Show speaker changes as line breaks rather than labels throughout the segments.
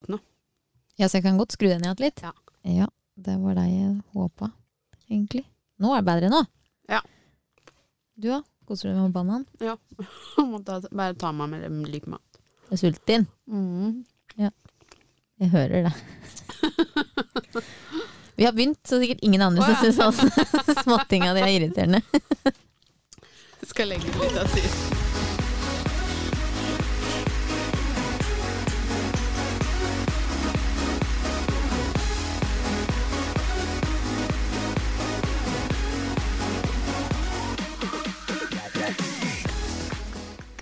uten noe.
Ja, så jeg kan godt skru den ned litt.
Ja.
Ja, det var det jeg håpa, egentlig. Nå er det bedre nå.
Ja.
Du da? Koser du deg med banan?
Må ta, bare ta meg med dem like mat.
Jeg er sulten.
Mm.
Jeg hører det. Vi har begynt, så sikkert ingen andre som
Å, ja.
syns alle småtinga di er irriterende.
Skal legge ut litt av sist.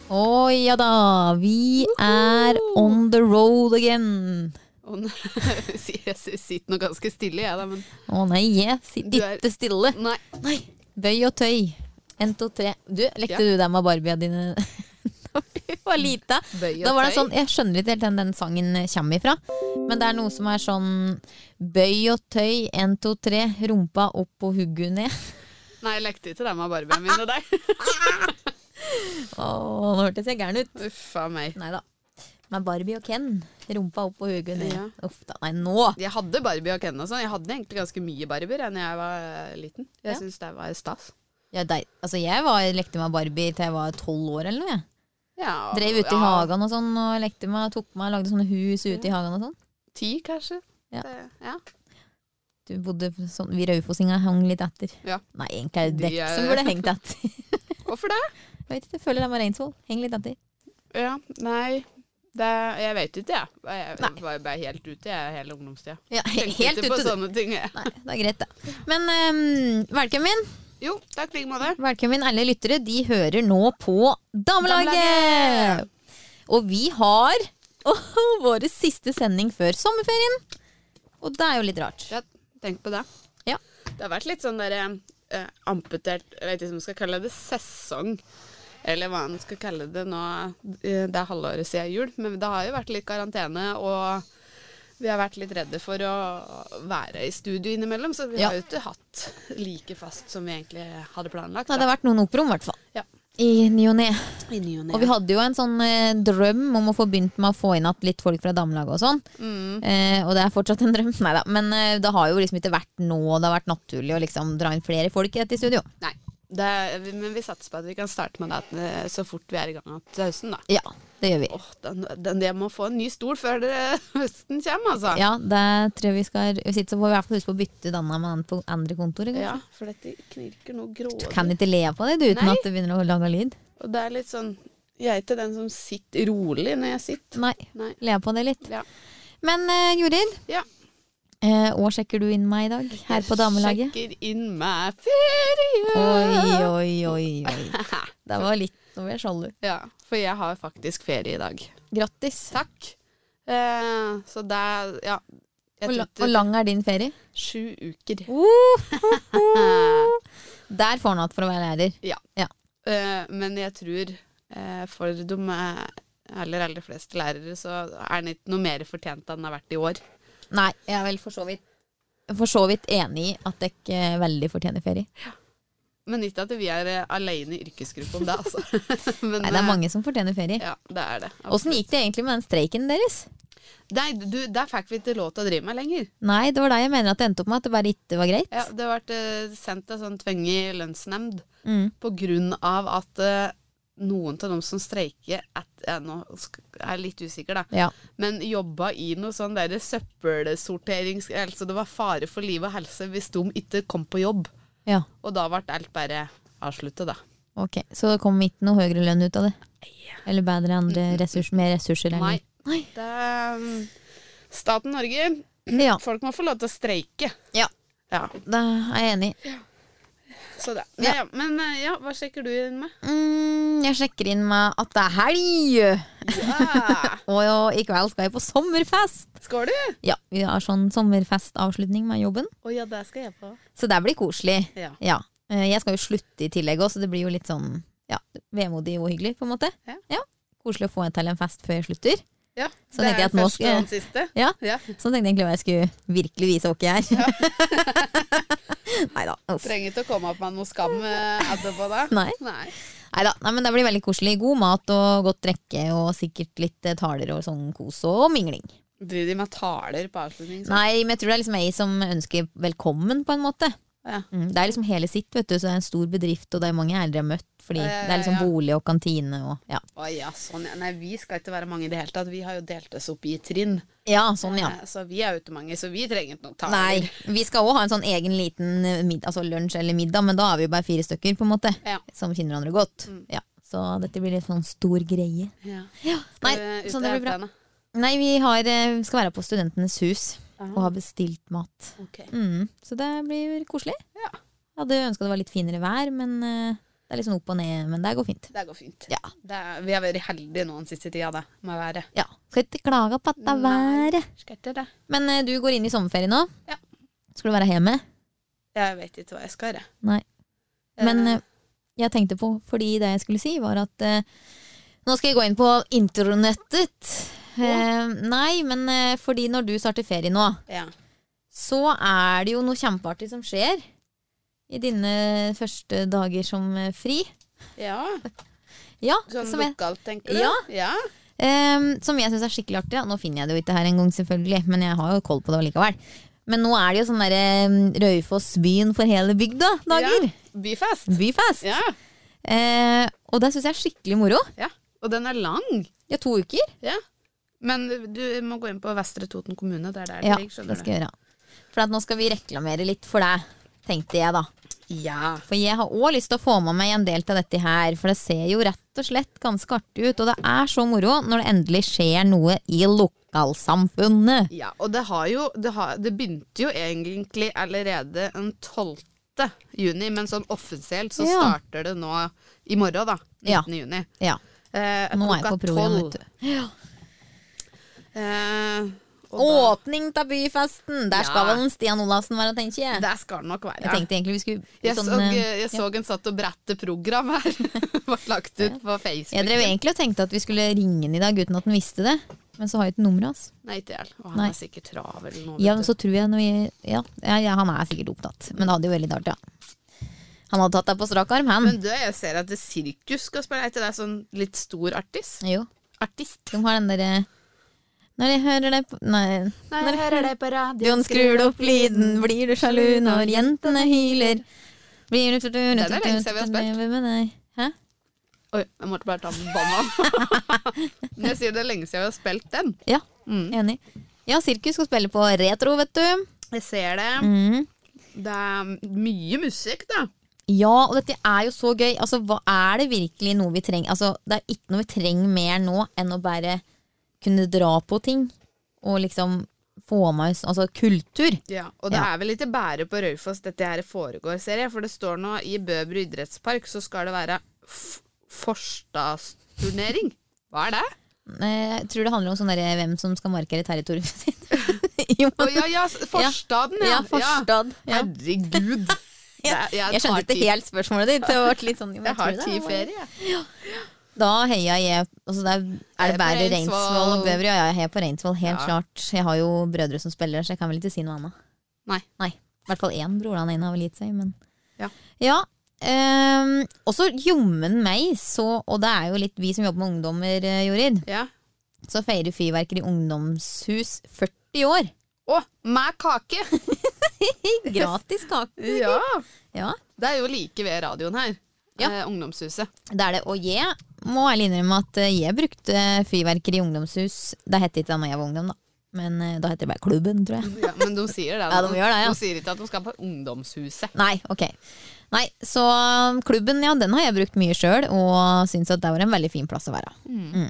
Å ja da, vi er on the road again.
Og nå- jeg sitter nå ganske stille, jeg, da, men
Å nei, jeg
Du
sitter
er-
ikke stille.
Nei.
Nei. Bøy og tøy. En, to, tre. Du, lekte du deg med Barbia dine da du var lita?
Bøy og
Da var det
tøy.
sånn, Jeg skjønner ikke helt den, den sangen kommer ifra, men det er noe som er sånn Bøy og tøy, en, to, tre, rumpa opp og hugget ned.
Nei, jeg lekte ikke det med Barbien min og deg.
Å, nå hørtes jeg gæren ut.
Uff a meg.
Nei da. Med Barbie og Ken, rumpa opp og hugget ned.
Ja.
Uff da, nei nå!
Jeg hadde Barbie og Ken og sånn. Jeg hadde egentlig ganske mye Barbier enn jeg var eh, liten. Jeg
Ja.
synes det var stas.
Ja, dei, altså jeg var, lekte med Barbie til jeg var tolv år eller noe. jeg.
Ja,
Drev ute i
ja,
hagen og sånn og lekte med, tok med, lagde sånne hus ute i hagen og sånn.
Ti, kanskje.
Ja.
Det- ja.
Du bodde sånn, Vi Raufosinga hang litt etter.
Ja.
Nei, egentlig er det
De
dekk
er-
som burde hengt etter.
Hvorfor det?
Jeg vet ikke, jeg føler det med Reinsvoll. Heng litt etter.
Ja, nei det, Jeg vet ikke, jeg. Jeg
Nei.
var bare helt ute jeg, hele ungdomstida.
Ja, he
Tenkte
helt
ikke på sånn.
ute. du.
sånne ting. Jeg.
Nei, det er greit, det. Men ehm, velkommen.
Jo, takk i like måte.
Velkommen, alle lyttere. De hører nå på Damelaget!
Damelaget!
Og vi har åhå, vår siste sending før sommerferien. Og det er jo litt rart.
Ja, tenk på det.
Ja.
Det har vært litt sånn derre eh, amputert Jeg vet ikke om man skal kalle det sesong. Eller hva man skal kalle det nå. eh, Det er halvåret siden jul, men det har jo vært litt karantene. og... Vi har vært litt redde for å være i studio innimellom, så vi
Ja.
har jo ikke hatt like fast som vi egentlig hadde planlagt.
Nei, det har vært noen operom, i hvert fall.
Ja.
I ny og ne.
da. I ny og ne.
Og vi hadde jo en sånn eh, drøm om å få begynt med å få inn at litt folk fra damelaget og sånn.
Mm.
Eh, og det er fortsatt en drøm, nei da. Men eh, det har jo liksom ikke vært nå, og det har vært naturlig å liksom dra inn flere folk i dette studio.
Nei. Det, vi- men vi satser på at vi kan starte med det at, eh, så fort vi er i gang til høsten, da.
Ja, det gjør vi.
Åh, den, den, jeg må få en ny stol før det, høsten kommer, altså.
Ja, det tror jeg vi skal Hvis ikke så får vi i hvert fall huske på å bytte denne med den på andre kontoret. kanskje.
Ja, for dette knirker noe grådig.
Kan ikke le på det du, uten
Nei.
at det begynner å lage lyd.
Og det er litt sånn Jeg er ikke den som sitter rolig når jeg sitter.
Nei,
Nei.
le på det litt.
Ja.
Men eh, Jorid,
Ja.
eh, hva sjekker du inn meg i dag her på damelaget?
Sjekker inn med ferie!
Oi, oi, oi, oi. Det var litt Nå ble jeg sjalu.
Ja, for jeg har faktisk ferie i dag.
Grattis.
Takk. Eh, så det er Ja. Jeg
Hvor la-
tenkte
hvor lang er din ferie?
sju uker.
Der får han hatt for å være lærer.
Eh, men jeg tror eh, for de eh, aller, aller fleste lærere så er den ikke noe mer fortjent enn den har vært i år.
Nei, jeg er vel for så vidt For så vidt enig i at dere ikke veldig fortjener ferie.
Men ikke at vi er eh, alene i yrkesgruppa om det, altså. men,
Nei, det
eh,
er mange som fortjener ferie.
Ja, det er det.
Åssen gikk det egentlig med den streiken deres?
Nei, du, der fikk vi ikke lov til å drive med lenger.
Nei, det var det jeg mener at det endte opp med at det bare ikke var greit.
Ja, det ble eh, sendt en sånn tvunget lønnsnemnd
Mm.
på grunn av at eh, noen av dem som streiker at, jeg Nå sk- er jeg litt usikker, da.
Ja.
Men jobba i noe sånn der søppelsortering Altså det var fare for liv og helse hvis de ikke kom på jobb.
ja.
Og da ble alt bare avsluttet, da.
Ok, Så det kom ikke noe høyere lønn ut av det? Eller bedre andre ressurser, mer ressurser? eller-
Mm. Nei. Det er, um, staten Norge,
Ja,
folk må få lov til å streike.
Ja.
Ja,
det er jeg enig i.
så det.
Ja.
Ja. ja. Men eh, ja, hva sjekker du inn med?
Mm, jeg sjekker inn med at det er helg!
Ja.
Og jo, i kveld skal jeg på sommerfest!
Ah, Skål, du!
Ja, vi har sånn sommerfestavslutning med jobben,
Å ja, det skal jeg på.
så det blir koselig.
Ja.
Ja. Eh, Jeg skal jo slutte i tillegg òg, så det blir jo litt sånn ja, vemodig og hyggelig, på en måte.
Ja.
Koselig å få en til en fest før jeg slutter.
ja
Så tenkte jeg at nå
første
skal jeg-
og den siste.
Ja,
Ja.
Så tenkte jeg egentlig hva jeg skulle virkelig vise hvem jeg er. Nei da.
Trenger ikke å komme opp med noe skam eh, etterpå, da.
Nei.
Nei.
Neida. Nei, men det blir veldig koselig. God mat og godt drikke og sikkert litt eh, taler og sånn kos og mingling.
Driver de med taler på avslutning? sånn?
Nei, men jeg tror det er liksom ei som ønsker velkommen, på en måte.
Ja.
Mm, det er liksom hele sitt, vet du. Så det er en stor bedrift, og det er mange jeg aldri har møtt. Fordi
Ja, ja, ja,
det er liksom
ja.
bolig og kantine og ja.
Å ja, sånn ja. Nei, vi skal ikke være mange i det hele tatt. Vi har jo delt oss opp i trinn.
ja, sånn ja.
Eh, Så vi er jo ikke mange, så vi trenger ikke noen taler.
Nei, vi skal òg ha en sånn egen liten eh, mid altså lunsj eller middag, men da er vi jo bare fire stykker, på en måte.
Ja. Mm.
Som kjenner hverandre godt. Ja. Så dette blir litt sånn stor greie.
Ja.
Ja, nei,
Eh,
så
ute
det
i
blir bra.
henne.
Nei, vi har, eh, skal være på Studentenes hus
Ah.
og har bestilt mat.
Ok.
Mm, så det blir koselig.
Ja,
Hadde ønska det var litt finere vær, men eh, det er litt sånn opp og ned, men det går fint.
det går fint.
Ja.
Det er, vi har vært heldige nå den siste tida, det, med været.
Ja, Skal ikke klage på at det er
Nei.
været.
Skal ikke det.
Men eh, du går inn i sommerferie nå.
Ja.
Skal du være hjemme?
Jeg vet ikke hva jeg skal gjøre.
Nei. Men
Eh,
eh, jeg tenkte på, fordi det jeg skulle si, var at eh, Nå skal jeg gå inn på intronettet. Eh, nei, men eh, fordi når du starter ferie nå,
ja.
så er det jo noe kjempeartig som skjer i dine første dager som eh, fri.
ja.
Ja,
Sånn
som jeg,
lokalt, tenker du?
Ja.
ja.
Ehm, som jeg syns er skikkelig artig. Da. Nå finner jeg det jo ikke her engang, selvfølgelig, men jeg har jo koll på det likevel. Men nå er det jo sånn derre ehm, Raufoss byen for hele bygda dager.
Ja. Byfest.
Byfest.
Ja.
Eh, og det syns jeg er skikkelig moro.
ja. Og den er lang.
Ja, to uker.
Ja. Men du må gå inn på Vestre Toten kommune. Det er der det
Ja, det
ligger,
skal
skjønner du.
jeg gjøre. For at nå skal vi reklamere litt for deg, tenkte jeg da.
Ja.
For jeg har òg lyst til å få med meg en del av dette her, for det ser jo rett og slett ganske artig ut. Og det er så moro når det endelig skjer noe i lokalsamfunnet.
ja. Og det har jo det, har, det begynte jo egentlig allerede den 12. juni, men sånn offisielt så
Ja.
starter det nå i morgen, da. 19.
Ja.
juni.
Ja,
Eh,
nå er jeg
klokka
på program,
12.
vet du.
Eh, og
Åpning av byfesten! Der skal
Ja.
vel en Stian Olavsen være, tenker jeg.
da, det skal det nok være.
Jeg tenkte egentlig vi skulle
Jeg
sånn,
så,
eh,
jeg så en satt og brette program her. Var lagt ut på
Jeg
Facebook.
drev egentlig og tenkte at vi skulle ringe han i dag uten at han visste det. Men så har jeg ikke nummeret hans.
Nei, ikke jeg. Og han
Nei.
er sikkert travel nå. vet
Ja,
du.
men så tror jeg når jeg, ja, ja, ja, han er sikkert opptatt. Men det hadde jo veldig dart, ja. Han hadde tatt deg på strak arm, han.
Men du, jeg ser at det sirkus skal spille. Er ikke det sånn litt stor artist?
Jo,
Artist?
de har den derre Når jeg hører deg på Nei.
Når jeg hører deg på radioen,
Dion skrur opp lyden, blir du sjalu når jentene hyler? Blir du
Den er lenge siden vi har spilt.
Hæ?
Oi, jeg måtte bare ta med banan. Men jeg sier det er lenge siden vi har spilt den.
Ja,
Mm.
enig. Ja, Sirkus skal spille på retro, vet du.
Jeg ser det.
Mm.
Det er mye musikk, da.
Ja, og dette er jo så gøy. Altså, hva er det virkelig noe vi trenger? Altså, det er ikke noe vi trenger mer nå enn å bare kunne dra på ting. Og liksom få med oss altså, kultur.
Ja, og det
Ja.
er vel ikke bare på Raufoss dette her foregår, ser jeg. For det står nå i Bøbru idrettspark så skal det være f- Forstadsturnering. Hva er det?
Eh, Jeg tror det handler om sånn derre hvem som skal markere territoriet sitt. jo,
Å ja, ja, s- Forstaden,
ja,
ja.
forstått. Ja.
Herregud. Det er-
Jeg skjønte
tar
ikke
ti-
helt spørsmålet ditt. Det ble litt sånn, jo, men
Jeg
tror
har
det
ti
var-
ferie.
Da heia jeg altså det er, er
Jeg er
det
på
bare Reinsvoll og
Reinsvoll.
Bøver? Ja, jeg heier på Reinsvoll, helt
Ja.
klart. Jeg har jo brødre som spiller, så jeg kan vel ikke si noe annet.
Nei.
I hvert fall én bror. Han ene har vel gitt seg, men
Ja.
ja ehm, og så jommen meg, så, og det er jo litt vi som jobber med ungdommer, eh, Jorid,
Ja.
så feirer Fyrverkeri ungdomshus 40 år.
Å, med kake!
Gratis kake.
Ja.
Ja.
Det er jo like ved radioen her.
Ja.
Eh, ungdomshuset.
Det er det. Og jeg må ærlig innrømme at eh, jeg brukte fyrverkeri i ungdomshus. Det het ikke det da jeg var ungdom, da. Men eh, da heter det bare klubben, tror jeg.
Ja, men de sier det.
Ja, de gjør det, ja.
De sier ikke at de skal på ungdomshuset.
Nei, ok. Nei, så um, klubben, ja, den har jeg brukt mye sjøl, og syns at det var en veldig fin plass å være. Mm.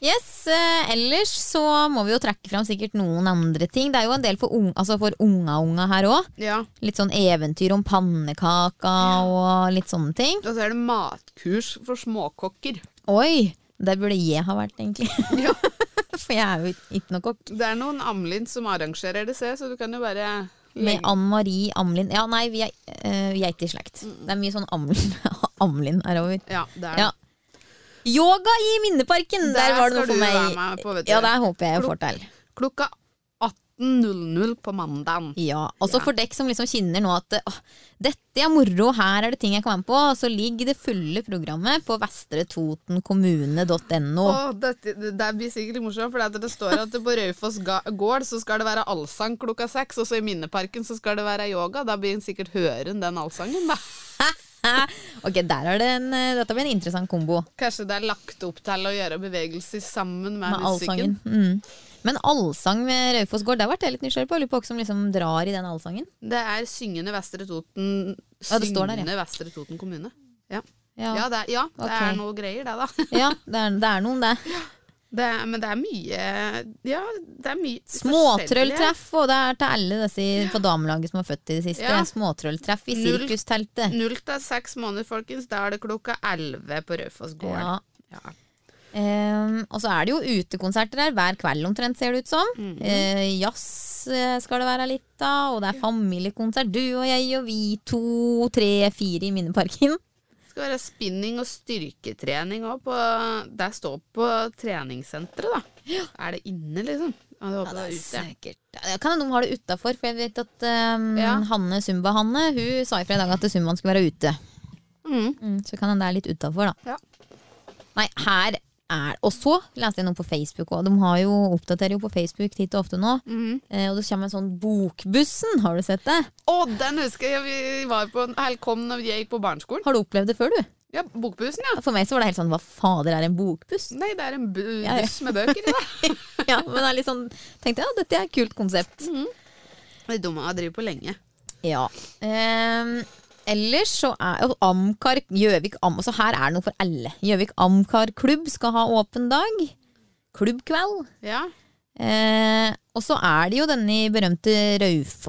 Yes, eh, ellers så må vi jo trekke fram sikkert noen andre ting. Det er jo en del for, ung, altså for unga-unga her òg.
Ja.
Litt sånn eventyr om pannekaka og litt sånne ting.
Og så er det matkurs for småkokker.
Oi! Der burde jeg ha vært, egentlig.
Ja.
For jeg er jo ikke- ikke noe kokk.
Det er noen Amlin som arrangerer det, ser jeg, så du kan jo bare
Med
legge
Ann Marie Amlin. Ja, nei, vi er, eh, vi er ikke i slekt. Det er mye sånn Amlin, Amlin er over.
Ja, det er det.
Ja. Yoga i Minneparken! Der,
Der
var det noe
skal
for
du
meg.
være med på, vet du.
Ja, der håper jeg jeg får til.
Klokka 18 18.00 på mandagen.
Ja, også
Ja.
for dekk som liksom kjenner nå at åh, dette er moro, her er det ting jeg kan være med på, så ligger det fulle programmet på vestretotenkommune.no.
Å, dette, det der blir sikkert morsomt, for det, at det står at på Raufoss ga- gård så skal det være allsang klokka seks, og så i Minneparken så skal det være yoga. Da blir en sikkert høren den allsangen, da.
ok, der er det en, eh, dette blir en interessant kombo
Kanskje det er lagt opp til å gjøre bevegelser sammen med,
med
musikken.
allsangen. Mm. Men allsang med Raufoss gård, der ble jeg litt nysgjerrig på. Jeg lurer på hva som liksom drar i den allsangen.
Det er Syngende Vestre Toten
Ja, det står der, ja.
Syngende Vestre Toten kommune. Ja, ja.
Ja,
det, er, ja det
Ok.
er noe greier, det, da.
ja det, er, det er noen det.
Det er, men det er mye Ja, det er mye forskjellige.
Småtrølltreff, og det er til alle disse på damelaget som er født i det siste.
Ja.
Småtrølltreff i
Null. Mm.
sirkusteltet.
Null til seks måneder, folkens. Da er det klokka elleve på Raufoss gård.
Ja.
Ja.
Ehm, og så er det jo utekonserter her hver kveld omtrent, ser det ut som.
Mhm.
Eh, jazz eh, skal det være litt av, og det er familiekonsert. Du og jeg og vi to, tre, fire i Minneparken.
Det skal være spinning og styrketrening òg. Det står på treningssenteret, da. Er det inne, liksom? Ja, det håper jeg det er ute.
sikkert. Ja, Kan hende de har det utafor, for jeg vet at ehm,
Ja.
Hanne Zumba-Hanne Hun sa ifra i dag at Zumbaen skulle være ute.
Mm.
Mm, så kan hende det er litt utafor, da.
Ja.
Nei, her er Og så leste jeg noe på Facebook òg. De har jo, oppdaterer jo på Facebook titt og ofte nå.
Mhm.
Eh, og det kommer en sånn Bokbussen, har du sett det?
Å, den husker jeg vi var på Helkom når jeg gikk på barneskolen.
Har du opplevd det før, du?
Ja, Bokbussen, ja.
For meg så var det helt sånn Hva fader er en bokbuss?
Nei, det er en bu
Ja, ja.
buss med bøker i, da.
ja, men det er litt sånn Tenkte jeg, ja, dette er et kult konsept.
De dumme har drevet på lenge.
Ja. Ehm, ellers så er og Amcar Gjøvik Am... Så her er det noe for alle. Gjøvik Amcar klubb skal ha åpen dag. Klubbkveld.
Ja.
Eh, og så er det jo denne berømte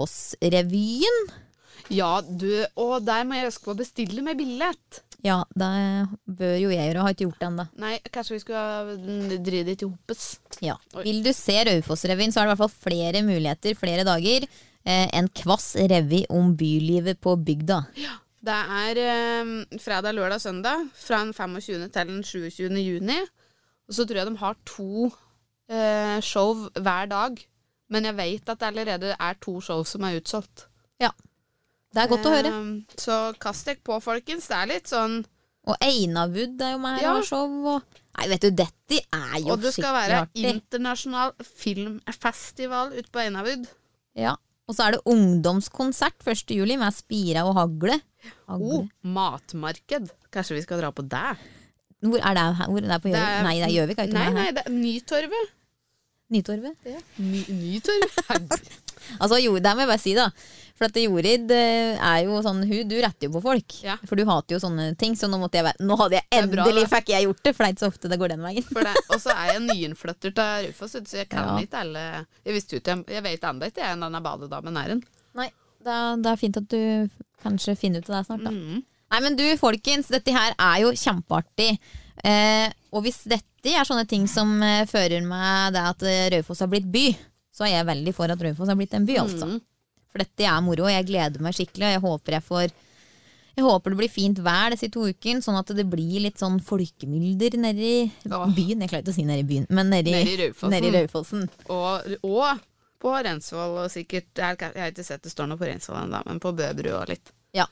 Raufoss-revyen.
ja, du Å, der må jeg huske på å bestille med billett.
Ja, det bør jo jeg gjøre, og har ikke gjort det ennå.
Nei, kanskje vi skulle drive det til hoppes.
Ja.
Oi.
Vil du se Raufoss-revyen, så er det i hvert fall flere muligheter, flere dager. Eh, en kvass revy om bylivet på bygda.
Det er eh, fredag, lørdag, søndag fra den 25. til den 27. juni. Og så tror jeg de har to eh, show hver dag. Men jeg vet at det allerede er to show som er utsolgt.
Det er godt å høre.
Eh, så kast dere på, folkens. Det er litt sånn
Og Einavud er jo med her
Ja.
og har show. Og... Nei, vet du, dette er jo
Og det skal
skikkelig
være
artig.
internasjonal filmfestival ute på Einavud.
Ja. Og så er det ungdomskonsert 1. juli med Spira og Hagle. Hagle.
Oh, matmarked. Kanskje vi skal dra på det?
Hvor er det? her? Hvor er det på Gjøvik? Nei, det er Gjøvik. er ikke
Nei,
det her?
nei, det er Nytorvet.
Nytorvet.
Ny, Nytorvet?
Altså, jo, der må jeg bare si da For at Jorid eh, er jo sånn hun, Du retter jo på folk
Ja.
For du hater jo sånne ting Så nå måtte jeg være Nå hadde jeg
Det er bra,
endelig
da.
fikk jeg gjort det For det er ikke så ofte det går den veien
For det, og så er jeg nyinnflytter til Raufoss, vet du, så jeg kan
Ja.
ikke alle Jeg visste jo ikke, jeg vet enda ikke jeg, denne badedamen er en.
Nei, det er, det er fint at du kanskje finner ut av det snart da
Mhm.
Nei, men du folkens Dette her er jo kjempeartig eh, Og hvis dette er sånne ting som eh, fører meg Det at eh, Raufoss har blitt by Så er jeg veldig for at Raufoss har blitt en by altså
Mhm.
For dette er moro, og jeg gleder meg skikkelig. Og jeg håper jeg får Jeg håper det blir fint vær disse to ukene, sånn at det blir litt sånn folkemylder nedi
Åh.
byen. Jeg klarer ikke å si nedi byen, men nedi,
Nede i Raufossen.
nedi Raufossen.
Og, og på Rensvoll og sikkert Jeg, har- jeg har ikke sett det står noe på Rensvoll ennå, men på Bøbru og litt.
Ja.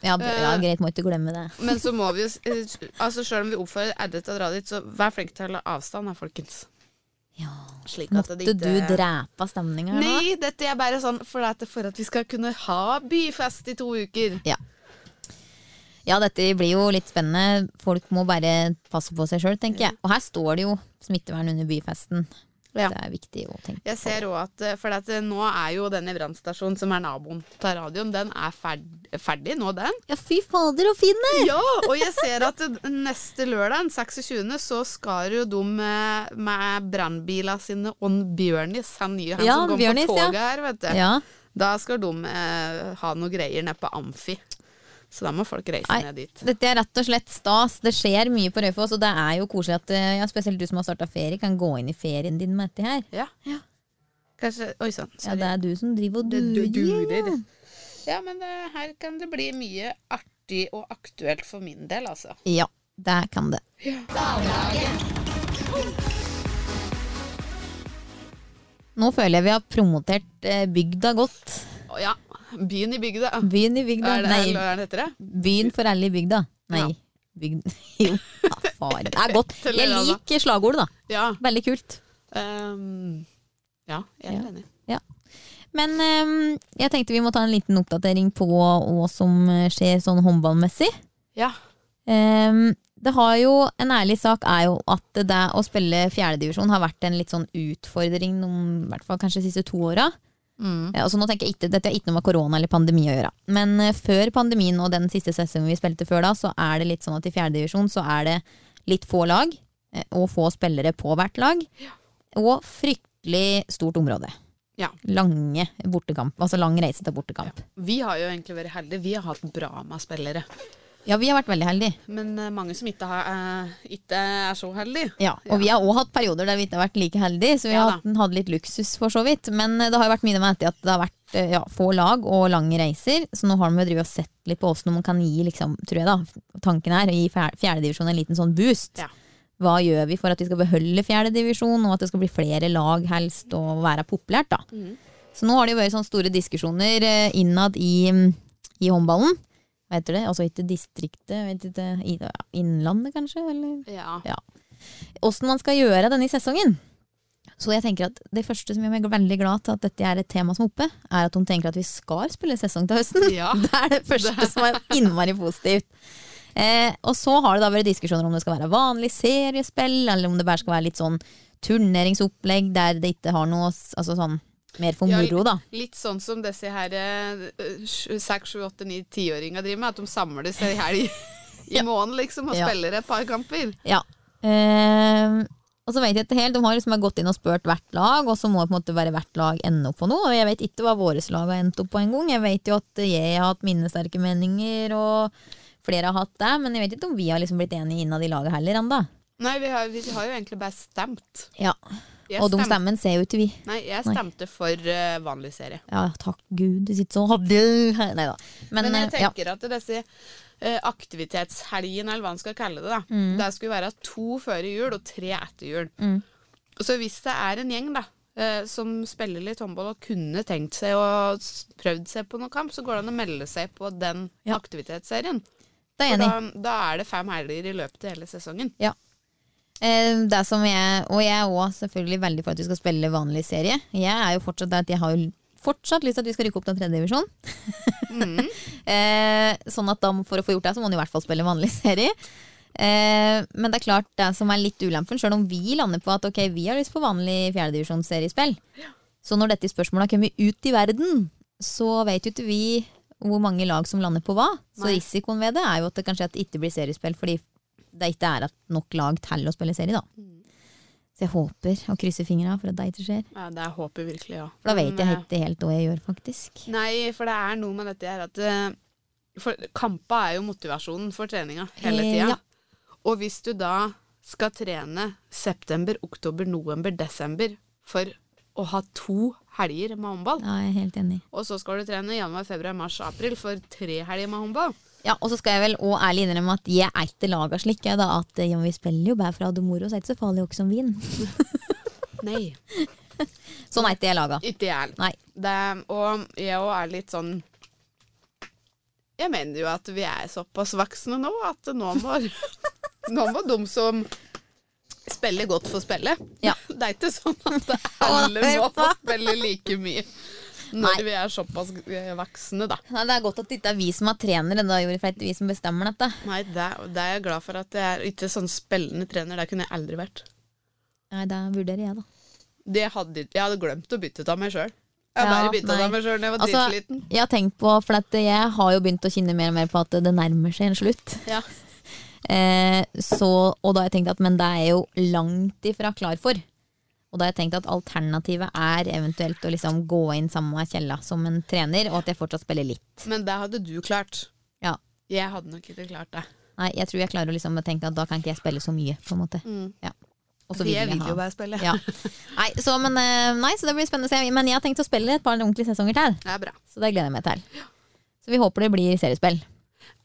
Ja, b- ja,
Eh.
greit, må ikke glemme det.
Men så må vi jo s- eh, Altså Sjøl om vi oppfordrer Edde til å dra dit, så vær flink til å holde avstand her, folkens.
Ja.
Slik at
Måtte
det
du
ikke
drepe stemninga nå?
Nei, dette er bare sånn for at, for at vi skal kunne ha byfest i to uker.
Ja, dette blir jo litt spennende. Folk må bare passe på seg sjøl, tenker jeg. Og her står det jo smittevern under byfesten.
Mm. Ja.
Det er viktig å tenke
Jeg ser også at, eh, for at eh, nå er jo denne brannstasjonen som er naboen til radioen, den er ferd ferdig nå, den.
Ja, fy fader, så fin den er!
Ja, og jeg ser at det- neste lørdag, den 26., så skal jo de med, med brannbiler sine og Bjørnis, han nye, han
Ja,
som kom
Bjørnis,
på
ja.
toget her, vet du.
Ja.
Da skal de eh, ha noe greier nede på Amfi. Så da må folk reise
Nei.
ned dit.
Dette er rett og slett stas. Det skjer mye på Raufoss, og det er jo koselig at eh, ja, spesielt du som har starta ferie, kan gå inn i ferien din med dette her.
Ja. Kanskje Oi sånn. sann.
Ja,
sorry.
det er du som driver og
Det
durer.
du-
ja.
durer. Ja, men eh, her kan det bli mye artig og aktuelt for min del, altså.
Ja, det kan det. nå føler jeg vi har promotert eh, bygda godt.
Å ja. Byen i bygda.
Byen i bygda.
Er det,
Nei,
eller hva er det heter det?
byen for alle i bygda. Nei,
Ja.
bygd... Jo, ja, faen. Det er godt.
Til
Jeg
eller annet.
liker slagordet, da.
Ja.
Veldig kult.
ehm, ja, jeg er
Ja.
helt enig.
Men ehm, jeg tenkte vi må ta en liten oppdatering på hva som skjer sånn håndballmessig.
Ja.
Ehm, det har jo, En ærlig sak er jo at det å spille fjerdedivisjon har vært en litt sånn utfordring om, i hvert fall kanskje de siste to åra.
Mm.
Eh, Altså nå tenker jeg ikke, Dette har ikke noe med korona eller pandemi å gjøre. Men eh, før pandemien og den siste sesongen vi spilte før da, så er det litt sånn at i fjerdedivisjon så er det litt få lag, eh, og få spillere på hvert lag. Og fryktelig stort område.
Ja.
Lange bortekamp, altså lang reise til bortekamp.
Vi har jo egentlig vært heldige. Vi har hatt bra med spillere.
Ja, vi har vært veldig heldige.
Men eh, mange som ikke, har, eh, ikke er så heldige.
Ja, og
Ja.
vi har òg hatt perioder der vi ikke har vært like heldige, så vi har
Ja da.
hatt, hatt litt luksus for så vidt. Men eh, det har jo vært mye med dette at det har vært eh, ja, få lag og lange reiser, så nå har de jo drevet og sett litt på åssen de kan gi, liksom, tror jeg da, tanken er, å gi fjer- fjerdedivisjon en liten sånn boost.
Ja.
Hva gjør vi for at vi skal beholde fjerdedivisjon, og at det skal bli flere lag helst, og være populært, da.
Mm.
Så nå har det jo vært sånne store diskusjoner eh, innad i, i håndballen. Hva heter det? Altså ikke distriktet, jeg vet ikke, i- ja, innlandet kanskje? Eller?
Ja.
åssen man skal gjøre denne sesongen. Så jeg tenker at Det første som gjør meg veldig glad til at dette er et tema som er oppe, er at de tenker at vi skal spille sesong til høsten.
Ja.
Det er det første som er innmari positivt. Eh, og så har det da vært diskusjoner om det skal være vanlig seriespill, eller om det bare skal være litt sånn turneringsopplegg der det ikke har noe s- altså sånn, Mer for
Ja,
moro, da.
Litt sånn som disse her eh, sju- seks, sju, åtte, ni, tiåringer driver med, at de samles ei helg i måneden liksom, og
Ja.
spiller et par kamper.
Ja. Eh, og så vet jeg ikke helt, De har liksom gått inn og spurt hvert lag, og så må på en måte bare hvert lag ende opp på noe. Og jeg vet ikke hva våre lag har endt opp på engang. Jeg vet jo at jeg har hatt mine sterke meninger, og flere har hatt det. Men jeg vet ikke om vi har liksom blitt enige innad i laget heller ennå.
Nei, vi har, vi har jo egentlig bare stemt.
Ja.
Jeg
Og de
stemte-
stemmen ser jo ikke vi.
Nei, jeg stemte for eh, vanlig serie.
Ja, takk gud, du sitter sånn Nei da. Men,
Men jeg
eh, ja.
tenker at disse eh, aktivitetshelgene, eller hva en skal kalle det, da, det skulle være to før jul og tre etter jul.
Mm.
Så hvis det er en gjeng da, eh, som spiller litt håndball og kunne tenkt seg å s- prøvd seg på noen kamp, så går det an å melde seg på den
Ja.
aktivitetsserien.
Da er jeg
For
enig.
da, da er det fem helger i løpet av hele sesongen.
Ja. Eh, Det som jeg, og jeg er også selvfølgelig veldig for at vi skal spille vanlig serie. Jeg er jo fortsatt der at jeg har jo fortsatt lyst til at vi skal rykke opp til tredje divisjon. Eh, sånn at da, må- for å få gjort det, så må man i hvert fall spille vanlig serie. Eh, men det er klart det som er litt ulempen, sjøl om vi lander på at ok, vi har lyst på vanlig fjerdedivisjonsseriespill. Så når dette spørsmålet har kommet ut i verden, så vet jo ikke vi hvor mange lag som lander på hva. Så
Nei.
risikoen ved det er jo at det kanskje at det ikke blir seriespill fordi det ikke er at nok lag til å spille serie, da. Så jeg håper og krysser fingra for at det ikke skjer.
Ja, det er håpet virkelig, ja.
For da
Men,
vet jeg
eh,
ikke helt hva jeg gjør, faktisk.
Nei, for det er noe med dette her at eh, for Kampa er jo motivasjonen for treninga hele
Eh,
tida.
ja.
Og hvis du da skal trene september, oktober, november, desember for å ha to helger med håndball,
Ja, jeg er helt enig.
og så skal du trene januar, februar, mars, april for tre helger med håndball
Ja, Og så skal jeg vel òg ærlig innrømme at jeg er ikke laga slik, jeg, da. At eh, ja, men vi spiller jo bare for å ha det moro, så er det ikke så farlig også som vin.
Nei.
Sånn er ikke jeg laga.
Ikke jeg heller.
Nei.
Det- Og jeg òg er litt sånn Jeg mener jo at vi er såpass voksne nå at nå må, nå må de som spiller godt, få spille.
Ja.
Det er ikke sånn at alle må få spille like mye når
Nei.
vi er såpass eh, voksne, da.
Nei, det er godt at det ikke er vi som er trenere, da, Jori, for det er ikke vi som bestemmer dette.
Nei, det, det er jeg glad for at jeg er ikke sånn spillende trener. Det kunne jeg aldri vært.
Nei, det vurderer jeg, da.
Det hadde, jeg hadde glemt å bytte ut av meg sjøl.
Ja,
Jeg bare bytta ut
nei.
av meg sjøl da jeg var
Altså,
dritliten.
jeg har tenkt på, for at jeg har jo begynt å kjenne mer og mer på at det nærmer seg en slutt.
Ja.
Eh, så, og da har jeg tenkt at men det er jeg jo langt ifra klar for. Og da har jeg tenkt at alternativet er eventuelt å liksom gå inn sammen med Kjella som en trener, og at jeg fortsatt spiller litt.
Men det hadde du klart.
Ja.
Jeg hadde nok ikke klart det.
Nei, jeg tror jeg klarer å liksom tenke at da kan ikke jeg spille så mye, på en måte.
Mm.
Ja. Og så
For
vil
jeg
jeg
vil
ha-
jo bare spille.
Ja. Nei, så, men, eh, nei, så det blir spennende å se. Men jeg har tenkt å spille et par ordentlige sesonger til.
Det er bra.
Så det gleder jeg meg til. Så vi håper det blir seriespill.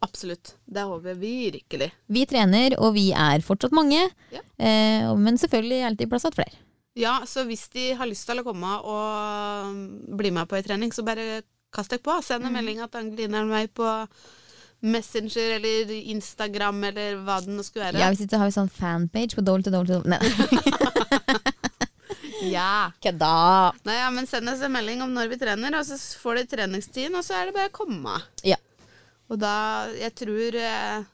Absolutt. Det håper vi virkelig.
Vi trener, og vi er fortsatt mange.
Ja.
Eh, og- men selvfølgelig er det alltid plass til flere.
Ja, så hvis de har lyst til å komme og mm, bli med på ei trening, så bare kast dere på. Send en melding at Angelina er meg på Messenger eller Instagram eller hva det nå skulle
Ja,
være.
hvis ikke har vi sånn fanpage på Dole to Dole to Dole. Nei,
Ja.
kødda!
Nei, ja, men send oss en melding om når vi trener, og så får de treningstiden, og så er det bare å komme.
Ja.
Og da, jeg tror eh,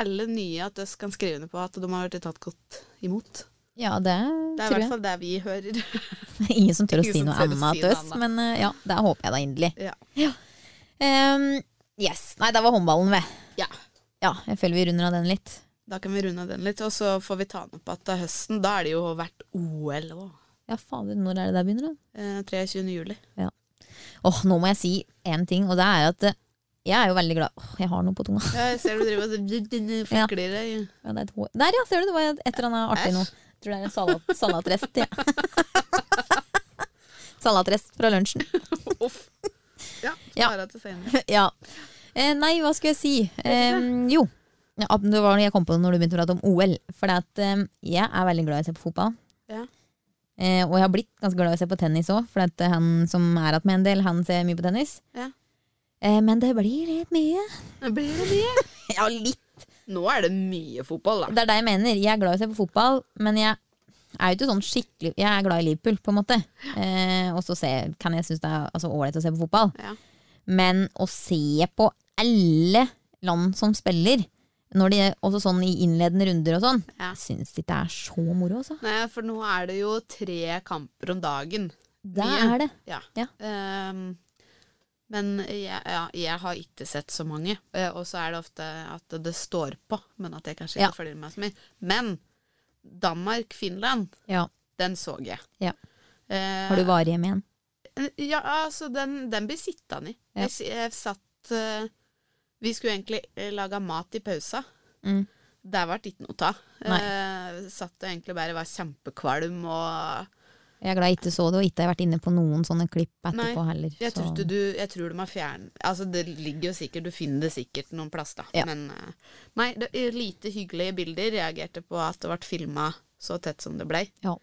alle nye at oss kan skrive under på at de har blitt tatt godt imot.
ja, det
Det er i
tror
hvert
jeg.
fall det vi hører.
Ingen som tør å
Ingen
si
som
noe
tør å
annet
si
til
noe
oss,
annet.
men eh, ja, det håper jeg da inderlig.
ja.
Ehm, yes. Nei, det var håndballen, ved.
ja.
Ja, jeg føler vi runder av den litt.
Da kan vi runde av den litt, og så får vi ta den opp igjen til høsten. Da er det jo hvert OL òg.
Ja, fader, når er det der begynner, da?
Eh, 23. juli.
Åh, nå må jeg si én ting, og det er at eh, jeg er jo veldig glad Åh, jeg har noe på tunga.
Ja, jeg ser du driver og
Ja.
fikler deg.
Ja, det er et hår. Der, ja, ser du, det var et eller annet artig
Æsj.
noe. Tror det er en salat, salatrest. Ja. salatrest fra lunsjen.
Uff. Ja,
Ja.
spara til senere.
ja. Eh, nei, hva skulle jeg si? Eh, jo, ja, det var når jeg kom på det når du begynte å prate om OL. For det at, eh, jeg er veldig glad i å se på fotball.
Ja.
Eh, og jeg har blitt ganske glad i å se på tennis òg, for at, eh, han som er igjen med en del, han ser mye på tennis.
Ja.
Eh, men det blir litt mye.
Men Blir det mye?
Ja, litt.
Nå er det mye fotball, da.
Det er det jeg mener. Jeg er glad i å se på fotball, men jeg er jo ikke sånn skikkelig Jeg er glad i Liverpool, på en måte. Eh, og så se- kan jeg synes det er altså, ålreit å se på fotball.
Ja.
Men å se på alle land som spiller, når de, også sånn i innledende runder og sånn,
Ja.
jeg syns ikke det er så moro, altså.
Nei, for nå er det jo tre kamper om dagen.
Det
Mye.
er det.
Ja.
Ja.
Ehm, men jeg, ja, jeg har ikke sett så mange. Eh, Og så er det ofte at det står på, men at jeg kanskje ikke
Ja.
følger med så mye. Men Danmark-Finland,
Ja.
den så jeg.
Ja.
Eh,
Har du vært hjemme igjen?
Ja, altså, den, den blir sittende i.
Ja.
Jeg, s- jeg satt eh, Vi skulle egentlig eh, lage mat i pausa.
Mm.
Der ble det ikke noe av.
Nei.
Eh, satt og egentlig bare var kjempekvalm og
Jeg er glad jeg ikke så det, og ikke har vært inne på noen sånne klipp etterpå
Nei,
heller.
Jeg,
så-
tror ikke du, jeg tror de har fjern... Altså, det ligger jo sikkert, du finner det sikkert noen plass, da.
Ja.
Men eh, nei, det er lite hyggelige bilder. Reagerte på at det ble filma så tett som det blei.
Ja.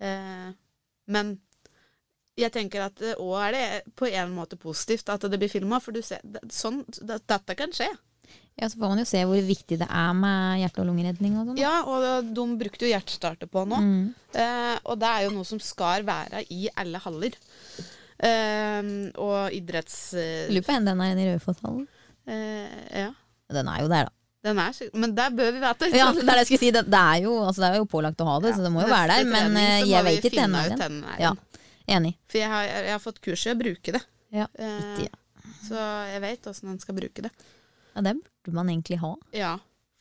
Eh, men jeg tenker at òg er det på en måte positivt at det blir filma, for du ser det, sånn, det, Dette kan skje.
Ja, så får man jo se hvor viktig det er med hjerte- og lungeredning og sånn. da.
Ja, og de brukte jo hjertestarter på nå.
Mm.
Eh, og det er jo noe som skal være i alle haller. Eh, og idretts... Eh,
Lurer på hvor den er i Raufosshallen.
eh, ja.
Den er jo der, da.
Den er syk, men der bør vi vite.
Ja, det er det jeg skulle si. Det, det, er jo, altså, det er jo pålagt å ha det, så det må jo være der. Men eh, jeg vet ikke ennå.
den.
den. Ja, enig.
For jeg har, jeg har fått kurs i å bruke det.
Ja,
Eh,
Ikke, ja.
Så jeg vet åssen en skal bruke det.
ja, det burde man egentlig ha.
Ja,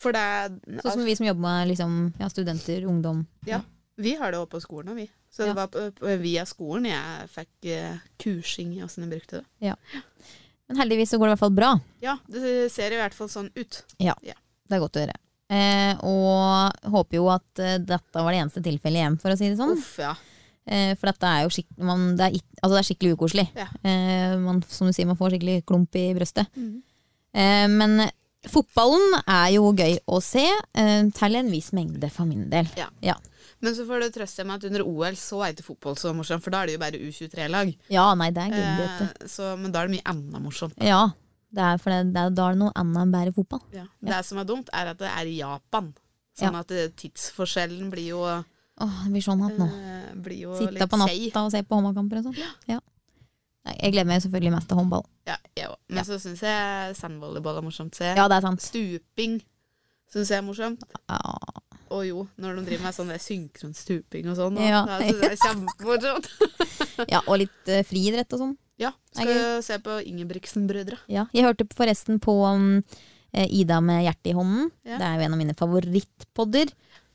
for det er
Sånn som vi som jobber med liksom, ja, studenter, ungdom.
ja, Vi har det også på skolen òg, vi. Så
Ja.
det var på, på, via skolen jeg fikk eh, kursing i åssen jeg brukte det.
Men heldigvis så går det i hvert fall bra.
Ja, det ser i hvert fall sånn ut.
Det er godt å høre. Eh, og håper jo at eh, dette var det eneste tilfellet igjen, for å si det sånn.
Uff, ja.
Eh, for dette er jo skikk- man, det er, ikk- altså, det er skikkelig ukoselig.
Ja.
Eh, man, som du sier, man får skikkelig klump i brøstet.
Mhm.
Eh, men fotballen er jo gøy å se, eh, til en viss mengde for min del.
Ja.
Ja,
Men så får du trøste meg at under OL så er ikke fotball så morsomt, for da er det jo bare U23-lag.
ja nei, det er gøy, vet du.
Eh, så- men da er det mye annet morsomt.
Ja, det er, for det, det er, da er det noe annet enn bare fotball.
Ja. Det som er dumt, er at det er i Japan. Sånn at eh, tidsforskjellen blir jo,
Åh, det blir sånn at nå.
eh, blir jo
Sitte
litt
på
seig.
natta og se på håndballkamper og sånn. Ja. Nei, Jeg gleder meg selvfølgelig mest til håndball.
Ja, jeg òg. Men så syns jeg sandvolleyball er morsomt. Se.
Ja, det er sant.
Stuping syns jeg er morsomt.
Ja.
Og jo, når de driver med sånn der synkron stuping og sånn.
Ja.
Ja. Da synes jeg det er kjempemorsomt.
Ja, og litt eh, friidrett og sånn.
Ja, skal
Det er
jo se på Ingebrigtsen-brødre.
Ja. Jeg hørte forresten på um, eh, Ida med hjertet i hånden.
Ja.
Det er jo en av mine favorittpodder.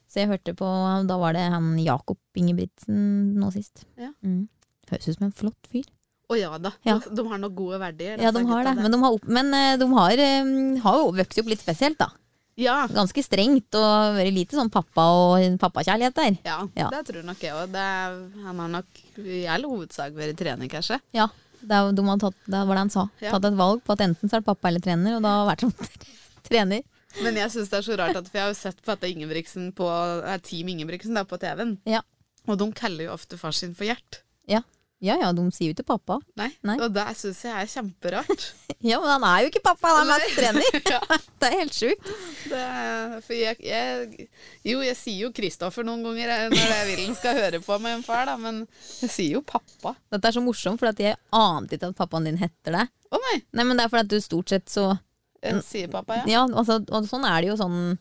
Så jeg hørte på, um, da var det han Jakob Ingebrigtsen nå sist.
Ja.
Mm. Høres ut som en flott fyr.
Å ja da,
Ja.
de har noen gode verdier.
Ja,
altså,
de har
gutta
det.
der.
Men de har, opp, men eh, de har, eh, har jo vokst opp litt spesielt, da.
ja.
Ganske strengt og vært lite sånn pappa og pappakjærlighet der.
Ja,
Ja.
det tror nok jeg òg. Han har nok i all hovedsak vært trener, kanskje.
Ja, det, er- de har tatt, det var det han sa.
Ja.
Tatt et valg på at enten så er det pappa eller trener, og da har vært som trener.
Men jeg syns det er så rart, at, for jeg har jo sett på dette Ingebrigtsen på eh, Team Ingebrigtsen da, på TV-en.
Ja.
Og de kaller jo ofte far sin for Gjert.
Ja. ja, ja, de sier jo til pappa.
Nei.
Nei.
Og det syns jeg er kjemperart.
Ja, men han er jo ikke pappa, han er
Nei.
mest trener.
ja,
Det er helt sjukt.
det er, for jeg, jeg Jo, jeg sier jo Kristoffer noen ganger eh, når jeg vil han skal høre på med en far, da, men jeg sier jo pappa.
Dette er så morsomt, for at jeg ante ikke at pappaen din heter det.
Å nei,
Nei, men det er fordi at du stort sett så
jeg sier pappa, ja.
Ja, altså, og sånn er det jo sånn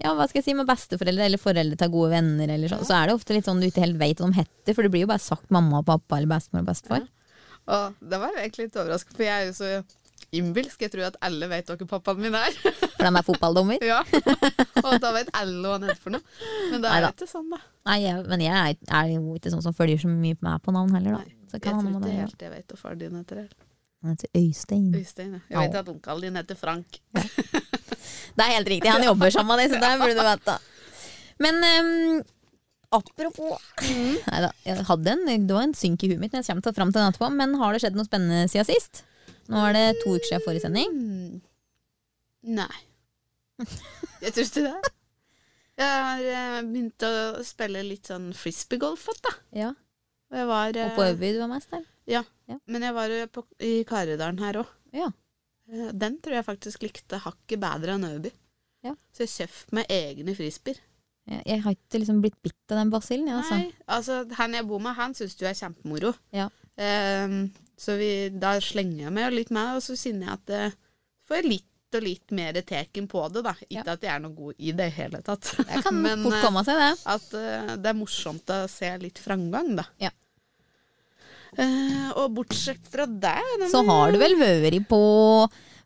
Ja, hva skal jeg si med besteforeldre eller foreldre til gode venner eller sånn. Så er det ofte litt sånn du ikke helt veit hva de heter, for det blir jo bare sagt mamma og pappa eller bestemor og bestefar.
Og det var jo egentlig litt overraskende, for jeg er jo så innbilsk. Jeg tror at alle vet hva pappaen min er.
For de er fotballdommer.
ja. Og da vet alle hva han heter for noe. Men det er jo
Neida.
ikke sånn, da.
Nei, jeg, men jeg er, er jo ikke sånn som følger så mye med på navn heller,
Nei,
da. Så
Jeg
kan
tror
han
ikke
det
helt jeg vet hva faren din heter. her.
Han heter Øystein.
Øystein. ja. Jeg vet at onkelen din heter Frank.
Det er helt riktig, han jobber sammen med deg, så det burde du vite. Men ehm, apropos
Mm.
Neida, jeg hadde en, Det var en synk i huet mitt, men jeg kommer til fram til den etterpå. Men har det skjedd noe spennende siden sist? Nå er det to uker siden forrige sending.
Mm. Nei. Jeg tror ikke det. Jeg har eh, begynt å spille litt sånn frisbeegolf igjen, da.
Ja.
Og Jeg var, eh,
Og på Øverby du var mest der?
men jeg var jo på, i Karidalen her òg.
Ja.
Den tror jeg faktisk likte hakket bedre enn Øverby.
Ja.
Så jeg kjøpte meg egne frisbeer.
Jeg, jeg har ikke liksom blitt bitt av den basillen, jeg, altså.
Nei, altså han jeg bor med, han syns jo er kjempemoro.
Ja.
Ehm, så vi, da slenger jeg meg jo litt med, og så kjenner jeg at det får jeg litt og litt mer teken på det, da. Ikke at jeg er noe god i det i hele tatt.
Det kan
Men,
fort
eh,
komme seg, det.
At eh, det er morsomt å se litt framgang, da.
Ja.
Eh, og bortsett fra det den-
Så har du vel vært på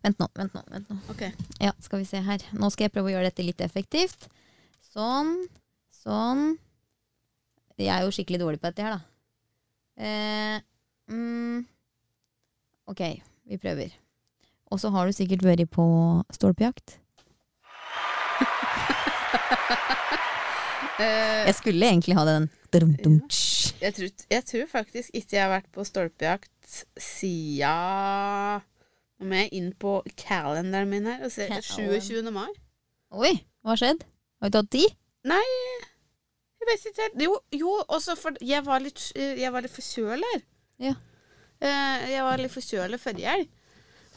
Vent nå, vent nå. vent nå.
Ok.
Ja, skal vi se her. Nå skal jeg prøve å gjøre dette litt effektivt. Sånn, sånn. Jeg er jo skikkelig dårlig på dette her, da. Eh, mm. Ok, vi prøver. Og så har du sikkert vært på stolpejakt.
Eh,
Jeg skulle egentlig ha den. Drum, dum, tsj.
jeg, tror, jeg tror faktisk ikke jeg har vært på stolpejakt siden Nå må jeg inn på kalenderen min her og se
Kalenderen.
27. mai.
Oi, hva har skjedd? Har vi tatt ti?
Jeg vet ikke helt. Jo, jo også for jeg var litt, jeg var litt forkjølet her.
Ja.
Eh, Jeg var litt forkjølet forrige helg.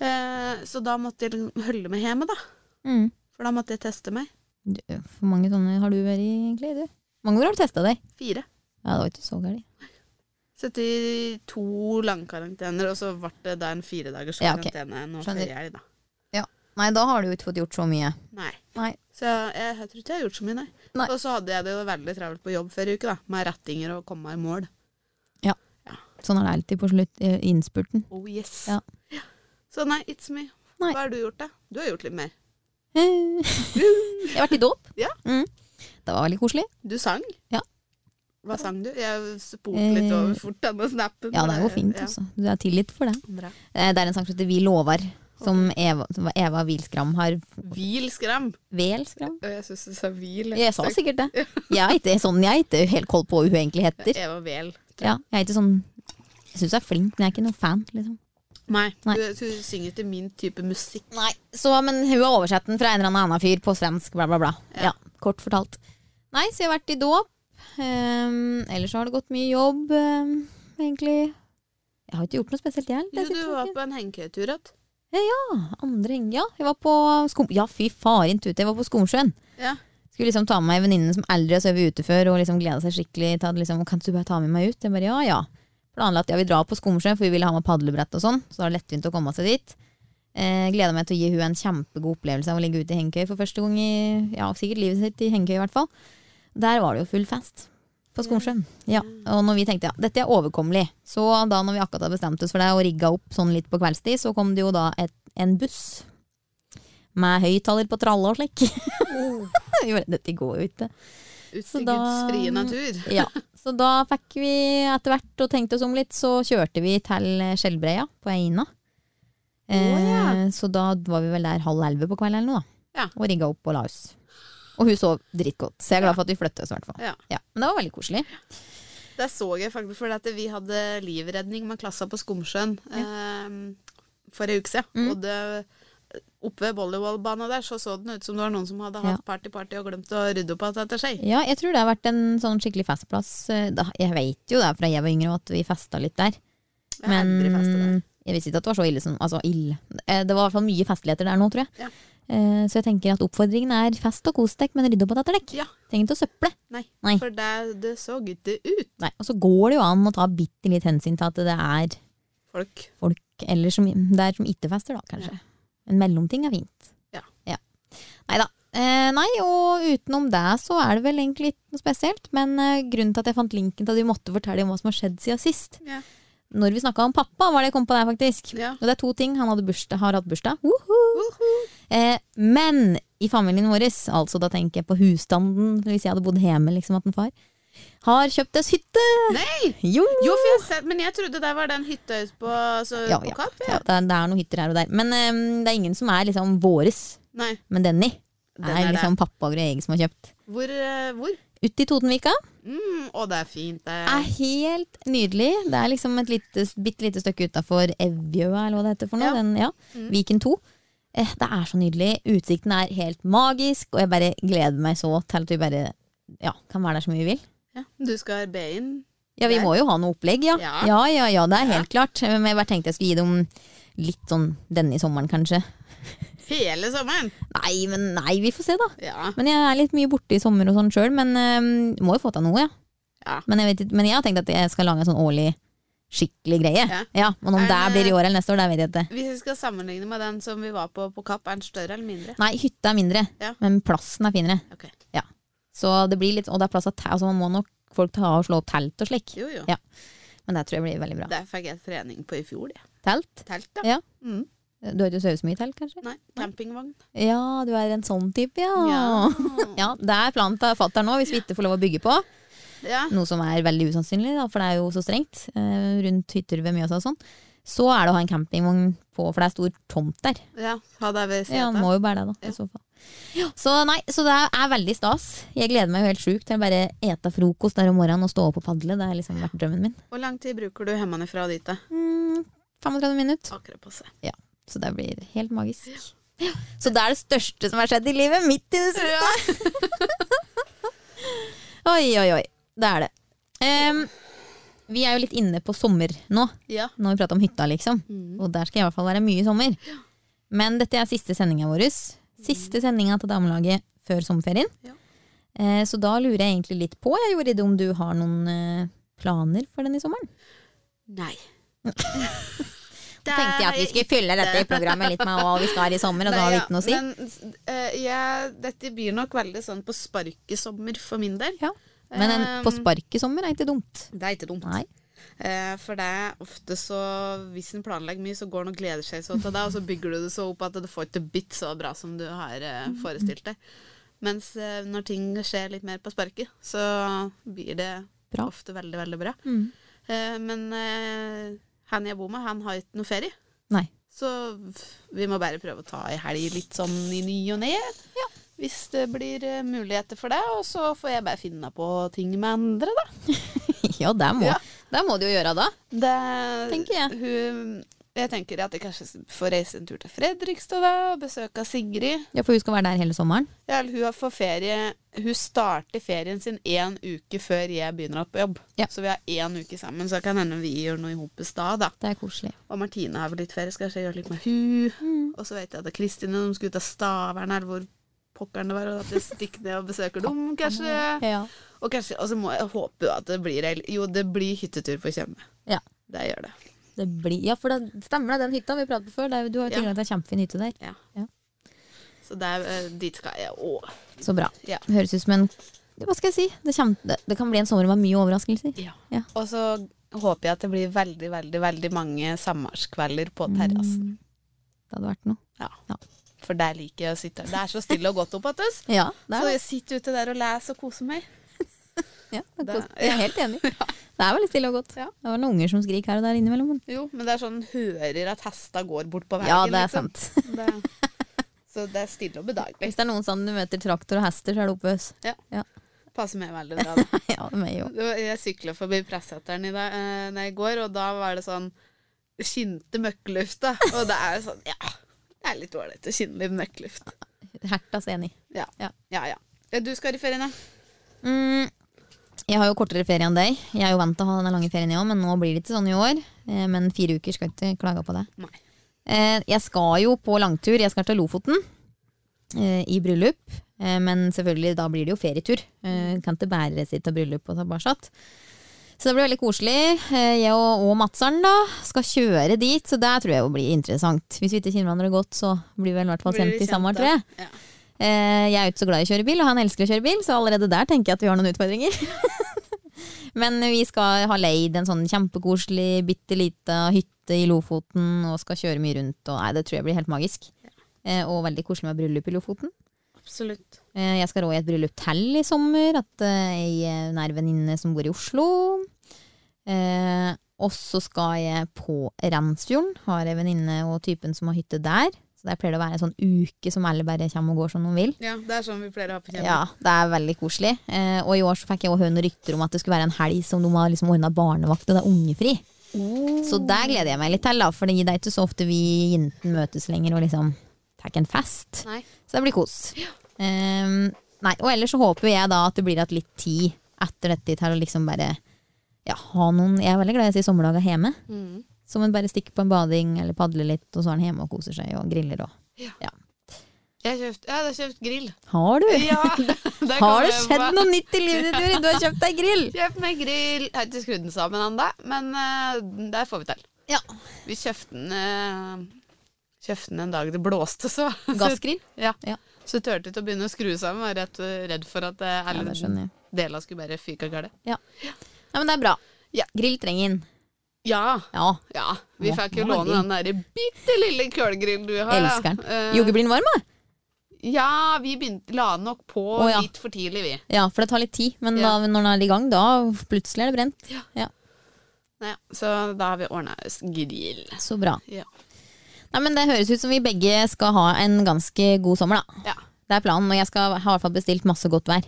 Eh, Så da måtte jeg liksom holde meg hjemme, da.
Mm.
For da måtte jeg teste meg.
Du, Hvor mange sånne har du vært i, egentlig? Du? Hvor mange ganger har du testa deg?
Fire.
Ja, det var ikke så gærent.
72 langkarantener, og så ble det da en firedagers
Ja, ok.
karantene nå
Skjønner.
forrige helg, da.
Nei, da har du jo ikke fått gjort så mye.
Nei.
Nei.
Så jeg, jeg tror ikke jeg har gjort så mye, nei.
Nei.
Og så hadde jeg det jo veldig travelt på jobb forrige uke, da. Med rettinger og komme i mål.
Sånn er det alltid på slutt, eh, innspurten.
Oh yes.
Ja.
Ja. Så nei, it's me.
Nei.
Hva har du gjort, da? Du har gjort litt mer.
Jeg har vært i dåp.
Ja.
Mm. Det var veldig koselig.
Du sang?
Ja.
Hva sang du? Jeg spolte litt
Eh,
over fort denne snappen.
Ja, det er jo fint, altså. Du er tilgitt for det.
Bra.
Eh, Det er en sang som heter Vi lover, som Eva, som Eva Wilskram har
Hvil skram.
Velskram?
Og jeg syns du sa hvil.
Jeg sa sikkert det. Jeg er ikke sånn, jeg er ikke helt koll på hva hun egentlig heter.
Eva Vel.
Ja, jeg er ikke sånn Jeg syns hun er flink, men jeg er ikke noen fan, liksom.
Nei,
Nei.
Du, du synger til min type musikk.
Nei, så, men hun har oversett den fra en eller annen annen fyr på svensk, bla, bla, bla. Ja. kort fortalt. Nei, så jeg har vært i dåp. Um, ellers så har det gått mye jobb, um, egentlig. Jeg har ikke gjort noe spesielt, jeg.
Du,
Det
du
sitter
var
ikke-
på en hengekøytur igjen.
Andre eng, ja. Jeg var på skum... Ja, fy faren tute, jeg var på Skomsjøen.
Ja.
Skulle liksom ta med meg venninnen som aldri har sovet ute før, og liksom gleda seg skikkelig til at liksom, kan du bare ta med meg ut? Jeg bare ja, ja. Planla at ja, vi drar på Skomsjøen, for vi ville ha med padlebrett og sånn, så da var det lettvint å komme seg dit. Eh, gleda meg til å gi hun en kjempegod opplevelse av å ligge ute i hengekøye for første gang i ja, sikkert livet sitt i hengekøye, i hvert fall. Der var det jo full fest. På Skomsjøen. Ja. Og når vi tenkte ja, dette er overkommelig, så da når vi akkurat hadde bestemt oss for det og rigga opp sånn litt på kveldstid, så kom det jo da et, en buss med høyttaler på tralle og slik. Jo, Dette går jo ikke.
Ut
Oh. Så
i
da-
Guds frie natur.
Ja. Så da fikk vi etter hvert og tenkte oss om litt, så kjørte vi til Skjellbreia på Eina.
Å,
Eh, så da var vi vel der halv elleve på kvelden eller noe, da.
Ja.
og rigga opp og la oss. Og hun sov dritgodt, så jeg er glad for at vi flyttet oss, i hvert fall.
Ja.
Men det var veldig koselig.
Det så jeg faktisk fordi at vi hadde livredning med klassa på Skomsjøen eh, for en ehm, uke siden.
Mm.
Og det oppe ved volleyballbanen der, så så den ut som det var noen som hadde
Ja.
hatt party-party og glemt å rydde opp alt etter seg.
Ja, jeg tror det har vært en sånn skikkelig festplass. eh, da- Jeg vet jo det fra jeg var yngre at vi festa litt der.
Jeg har aldri festet der.
Men jeg visste ikke at det var så ille som Altså, ille. Eh, Det var i hvert fall mye festligheter der nå, tror jeg.
Ja.
Eh, Så jeg tenker at oppfordringen er fest og kos deg, men rydd opp etter deg.
Ja.
Trenger ikke å søple.
Nei,
Nei.
for det, det så ikke ut.
Nei, og så går det jo an å ta bitte litt hensyn til at det er
Folk
folk eller som, der som ikke fester, da, kanskje. En mellomting er fint.
Ja.
Nei da. Eh, nei, og utenom det så er det vel egentlig ikke noe spesielt. Men eh, grunnen til at jeg fant linken til at vi måtte fortelle om hva som har skjedd siden sist
Ja.
Når vi snakka om pappa, var det jeg kom på der, faktisk.
Ja.
Og det er to ting. Han hadde bursdag, har hatt bursdag. Woho! Eh, men i familien vår, altså da tenker jeg på husstanden, hvis jeg hadde bodd hjemme liksom, at en far, har kjøpt oss hytte!
Nei!
Jo!
Jo, for jeg ser, men jeg trodde det var den hytta ute på, så,
Ja,
Eh, på Kapp.
Ja, det, er, det er noen hytter her og der. Men eh, det er ingen som er liksom våres.
Nei.
Men Denny
Den
er,
er
liksom pappa og Greg som har kjøpt.
Hvor? eh, hvor?
Ute i Totenvika.
Mm, å, det er fint. Det
Er helt nydelig. Det er liksom et lite, bitte lite stykke utafor Evjøa, eller hva det heter for noe.
Ja. Mm.
Den, ja. Viken 2. Eh, det er så nydelig. Utsikten er helt magisk, og jeg bare gleder meg så til at vi bare ja, kan være der så mye vi vil.
ja. Du skal be inn?
Ja, vi
Der.
må jo ha noe opplegg, ja. Ja,
Ja.
ja, ja, det er helt klart. Men jeg bare tenkte jeg skulle gi dem litt sånn denne sommeren, kanskje.
Hele sommeren?
Nei, men nei, vi får se, da.
Ja.
Men jeg er litt mye borte i sommer og sånn sjøl, men øhm, må jo få til noe, ja.
Ja.
Men, jeg vet, ikke- men jeg har tenkt at jeg skal lage en sånn årlig skikkelig greie. Ja.
Ja.
men om
Er
det
det-
blir i år eller neste år, det vet jeg ikke.
Hvis vi skal sammenligne med den som vi var på på Kapp, er den større eller mindre?
Nei, hytta er mindre,
Ja.
men plassen er finere.
Ok.
Så det blir litt, og det er plass til te- altså man må nok folk ta og slå opp telt og slik.
Jo, jo.
Ja. Men det tror jeg blir veldig bra.
Der fikk jeg trening på i fjor, jeg.
Telt?
Telt, da.
Ja.
Mm.
Du har ikke sovet så mye i telt, kanskje?
Nei, campingvogn.
Ja, du er en sånn type, ja.
Ja.
Ja, det er planen til fatter'n nå, hvis vi ikke får lov å bygge på.
Ja.
Noe som er veldig usannsynlig, da, for det er jo så strengt eh, rundt hytter ved Mjøsa og sånn. Så er det å ha en campingvogn på, for det er stor tomt der.
ja. Ha deg ved
Ja,
setet.
må jo bære det, da. I så fall. Så nei, så det er veldig stas. Jeg gleder meg jo helt sjukt til å bare ete frokost der om morgenen og stå opp og padle. Det har liksom vært drømmen min.
Hvor lang tid bruker du hjemmefra og dit? da?
Mm, 35 minutter.
Akkurat passe.
Så det blir helt magisk. Ja, Så det er det største som har skjedd i livet mitt i det siste! oi, oi, oi. Det er det. Em, vi er jo litt inne på sommer nå,
Ja.
når vi prater om hytta, liksom.
Mm.
Og der skal jeg i hvert fall være mye i sommer. Men dette er siste sendinga vår. Siste sendinga til damelaget før sommerferien.
Mm. Ja.
Eh, så da lurer jeg egentlig litt på, jeg Jorid, om du har noen eh, planer for denne sommeren?
Nei.
Da tenkte jeg at vi skulle fylle dette programmet litt med hva vi skal i sommer, og da har vi ikke noe å si.
Men eh, jeg, dette blir nok veldig sånn på sparkesommer for min del.
Ja. Men en, på
Eh,
spark i sommer er ikke dumt.
Det er ikke dumt.
Nei.
Eh, for det er ofte så Hvis en planlegger mye, så går en og gleder seg så til det, og så bygger du det så opp at det får ikke bitt så bra som du har eh,
Mm,
forestilt deg. Mens eh, når ting skjer litt mer på sparket, så blir det
Bra.
ofte veldig, veldig bra.
Mm.
Eh, men eh, han jeg bor med, han har ikke noe ferie.
Nei.
Så vi må bare prøve å ta ei helg litt sånn i ny og ne. Hvis det blir eh, muligheter for det, og så får jeg bare finne på ting med andre, da.
Ja, det må,
Ja.
det må du jo gjøre da.
Det
Tenker jeg.
Hun, jeg tenker at jeg kanskje får reise en tur til Fredrikstad da, og besøke Sigrid.
Ja, For hun skal være der hele sommeren.
Ja, eller hun, har- får ferie, hun starter ferien sin én uke før jeg begynner på jobb.
Ja.
Så vi har én uke sammen, så det kan hende vi gjør noe i hopes da, da.
Det er koselig.
Og Martine har vel litt ferie, skal kanskje jeg gjøre litt med hun.
Mm.
Og så vet jeg at det er Kristine de skal ut av Stavern her, hvor pokkeren det var, og at jeg stikker ned og besøker dem, kanskje.
Ja.
Og kanskje, og så må jeg håpe at det blir ei- Jo, det blir hyttetur på Tjøme.
Ja.
Det gjør det.
Det blir, ja, for det stemmer det, den hytta vi pratet på før. Det er, jo- du har jo
Ja.
tilgang til en kjempefin hytte der.
Ja.
Ja.
Så der, eh, dit skal jeg òg.
Så bra.
Ja.
Høres ut som en Hva skal jeg si? Det, kjem, det, det kan bli en sommer med mye overraskelser. Ja.
Og så håper jeg at det blir veldig, veldig veldig mange samværskvelder på terrassen.
Det hadde vært noe.
Ja.
Mm. Ja.
For der liker jeg å sitte. Det er så stille og godt opp attås.
Ja, det
Så
er det.
jeg sitter ute der og leser og koser meg.
Ja, det er
det-
kos- jeg er helt enig. Det er veldig stille og godt.
Ja.
Det var noen unger som skrek her og der innimellom. Men.
Jo, men det er sånn hører at hesta går bort på veien.
Ja, det er
liksom.
sant.
Det, så det er stille og bedagelig.
Hvis det er noen sånn du møter traktor og hester, så er det oppe hos
Ja.
Ja.
Passer meg veldig bra. da.
Ja, det er meg jo.
Det var- Jeg sykla forbi Presseteren i, dag, eh, nei, i går, og da var det sånn skinte møkklufta. Og det er sånn Ja, Det er litt ålreit å kjenne litt mørkluft.
Hertas enig.
Ja.
Ja.
ja, ja. Ja, Du skal i ferien, ja?
Mm, jeg har jo kortere ferie enn deg. Jeg er jo vant til å ha denne lange ferien, jeg òg, men nå blir det ikke sånn i år. Eh, Men fire uker skal ikke klage på det.
Nei.
Eh, Jeg skal jo på langtur. Jeg skal til Lofoten eh, i bryllup. Eh, Men selvfølgelig, da blir det jo ferietur. Eh, Kan ikke bære sitt av bryllup og tilbake. Så det blir veldig koselig. Eh, Jeg og, og Madseren da skal kjøre dit, så det tror jeg jo blir interessant. Hvis vi ikke kjenner hverandre godt, så blir vi vel i hvert fall
Blir vi
kjent i
kjent,
samme år,
da?
tror jeg.
Ja.
Eh, Jeg er jo ikke så glad i å kjøre bil, og han elsker å kjøre bil, så allerede der tenker jeg at vi har noen utfordringer. Men vi skal ha leid en sånn kjempekoselig, bitte lita hytte i Lofoten, og skal kjøre mye rundt, og nei, det tror jeg blir helt magisk. Eh, Og veldig koselig med bryllup i Lofoten.
Absolutt.
Eh, Jeg skal rå i et bryllup til i sommer. At eh, jeg er nær venninne som bor i Oslo. Eh, og så skal jeg på Randsfjorden. Har en venninne og typen som har hytte der. Så der pleier det å være en sånn uke som alle bare kommer og går som de vil.
Ja, Det er sånn vi pleier å ha på kjempe.
Ja, det er veldig koselig. Eh, og i år så fikk jeg også høre noen rykter om at det skulle være en helg som de har liksom ordna barnevakt, og det er ungefri. Så der gleder jeg meg litt til, da, for det er ikke så ofte vi jentene møtes lenger og liksom tar en fest.
Nei.
Så det blir kos. Ehm, nei, og ellers så håper jeg da at det blir at litt tid etter dette til å liksom bare ja, ha noen Jeg er veldig glad i å si sommerdager hjemme.
Mm.
Så man bare stikker på en bading eller padler litt, og så er man hjemme og koser seg og griller og
Jeg har kjøpt, ja, jeg har kjøpt grill.
Har du?
Ja, der
Har
kommer
det
jeg
skjedd
på.
noe nytt i livet ditt, Juri? Du har kjøpt deg grill!
Kjøp meg grill. Jeg har ikke skrudd den sammen ennå, men eh, der får vi til.
Ja.
Vi kjøpte den, eh, kjøpte den en dag det blåste, så.
Gassgrill?
Ja.
Ja.
Så turte jeg ikke å begynne å skru sammen. Var rett, redd for at eh,
Ja,
alle
det skjønner jeg.
deler skulle bare fyke av gårde.
Ja, men det er bra.
Ja.
Grill trenger inn.
Ja.
Ja.
ja. Vi
Må-
fikk jo
må ha
låne den derre bitte lille kølgrillen du har. da.
Elsker den.
Eh,
Jogge blir den varm, da?
ja, vi begynte, la den nok på
Å, ja.
litt for tidlig, vi.
Ja, for det tar litt tid. Men
Ja.
da, når den er i gang, da plutselig er det brent.
Nei, så da har vi ordna oss grill.
Så bra.
Ja.
Nei, men Det høres ut som vi begge skal ha en ganske god sommer, da.
ja.
Det er planen, og jeg skal ha i hvert fall bestilt masse godt vær.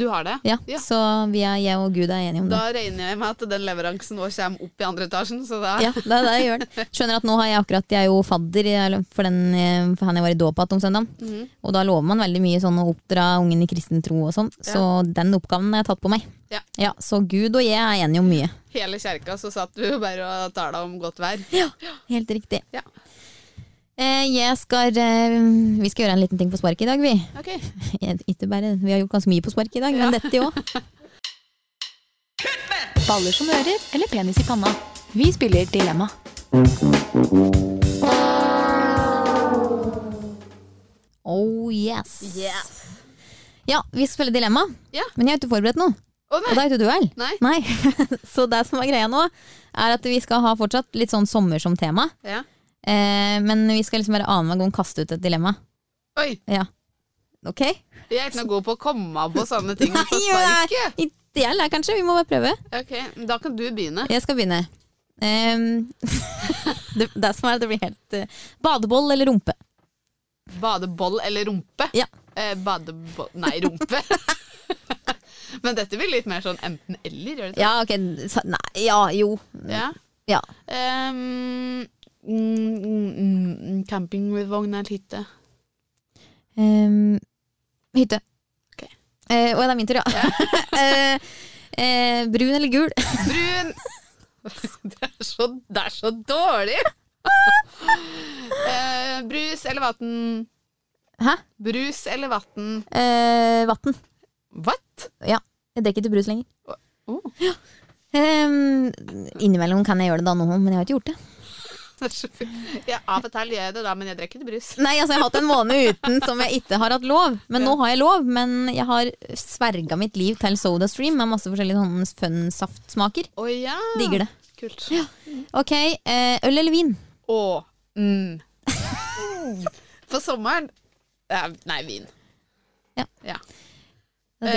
Du har det?
Ja,
Ja.
Så vi er, jeg og Gud er enige om det.
Da regner jeg med at den leveransen vår kommer opp i andre etasjen, så da
Ja, det er det jeg gjør. Skjønner at nå har jeg akkurat Jeg er jo fadder eller for, den, eh, for han jeg var i dåp igjen om søndag.
Mhm.
Og da lover man veldig mye sånn å oppdra ungen i kristen tro og sånn. Så den oppgaven har jeg tatt på meg.
Ja.
Så Gud og jeg er enige om mye.
Hele kjerka så satt du bare og tala om godt vær.
Ja, Helt riktig.
Ja.
Eh, Jeg skal, eh, vi skal gjøre en liten ting på sparket i dag, vi.
Ok.
Ikke bare, vi har gjort ganske mye på sparket i dag, men dette òg.
Baller som ører eller penis i panna? Vi spiller Dilemma.
Oh yes. Ja, vi skal spille Dilemma,
Ja.
men jeg har ikke forberedt noe.
Å
Og det
nei.
er ikke du heller.
nei.
Nei. Så det som er greia nå, er at vi skal ha fortsatt litt sånn sommer som tema.
Ja.
Eh, men vi skal liksom bare annenhver gang kaste ut et dilemma.
Oi,
Ja. Ok?
jeg er ikke noe god på å komme på sånne ting
Nei,
på
jo, det
sparket.
er- Ikke jeg heller, kanskje. Vi må bare prøve.
Ok, men Da kan du begynne.
Jeg skal begynne. Ehm, det, det som er, det blir helt eh, Badeboll eller rumpe?
Badeboll eller rumpe?
Ja.
Eh, badeboll Nei, rumpe. Men dette blir litt mer sånn enten-eller, gjør det ikke?
Ja, ok. sa- Nei, ja, jo.
Ja.
Ja.
Ehm, mm, mm, mm, campingvogn eller hytte?
Ehm, hytte.
Ok.
Eh, Å, det er min tur, ja. Eh, eh, brun eller gul?
Brun! Det er så, det er så dårlig! Eh, brus eller vann?
Hæ?
Brus eller vann?
Eh, Vann.
What?
Jeg drikker ikke brus lenger.
Oh,
Ehm, innimellom kan jeg gjøre det da nå, men jeg har ikke gjort det.
det er så fint. ja, av og til gjør jeg det, da, men jeg drikker ikke brus.
Nei, altså Jeg har hatt en måned uten som jeg ikke har hatt lov. Men nå har jeg lov. Men jeg har sverga mitt liv til Soda Stream med masse forskjellige sånne fun saftsmaker.
Å ja!
Digger det.
Kult.
Ok, eh, Øl eller vin?
Å, mm. På sommeren eh, Nei, vin.
Ja.
Eh,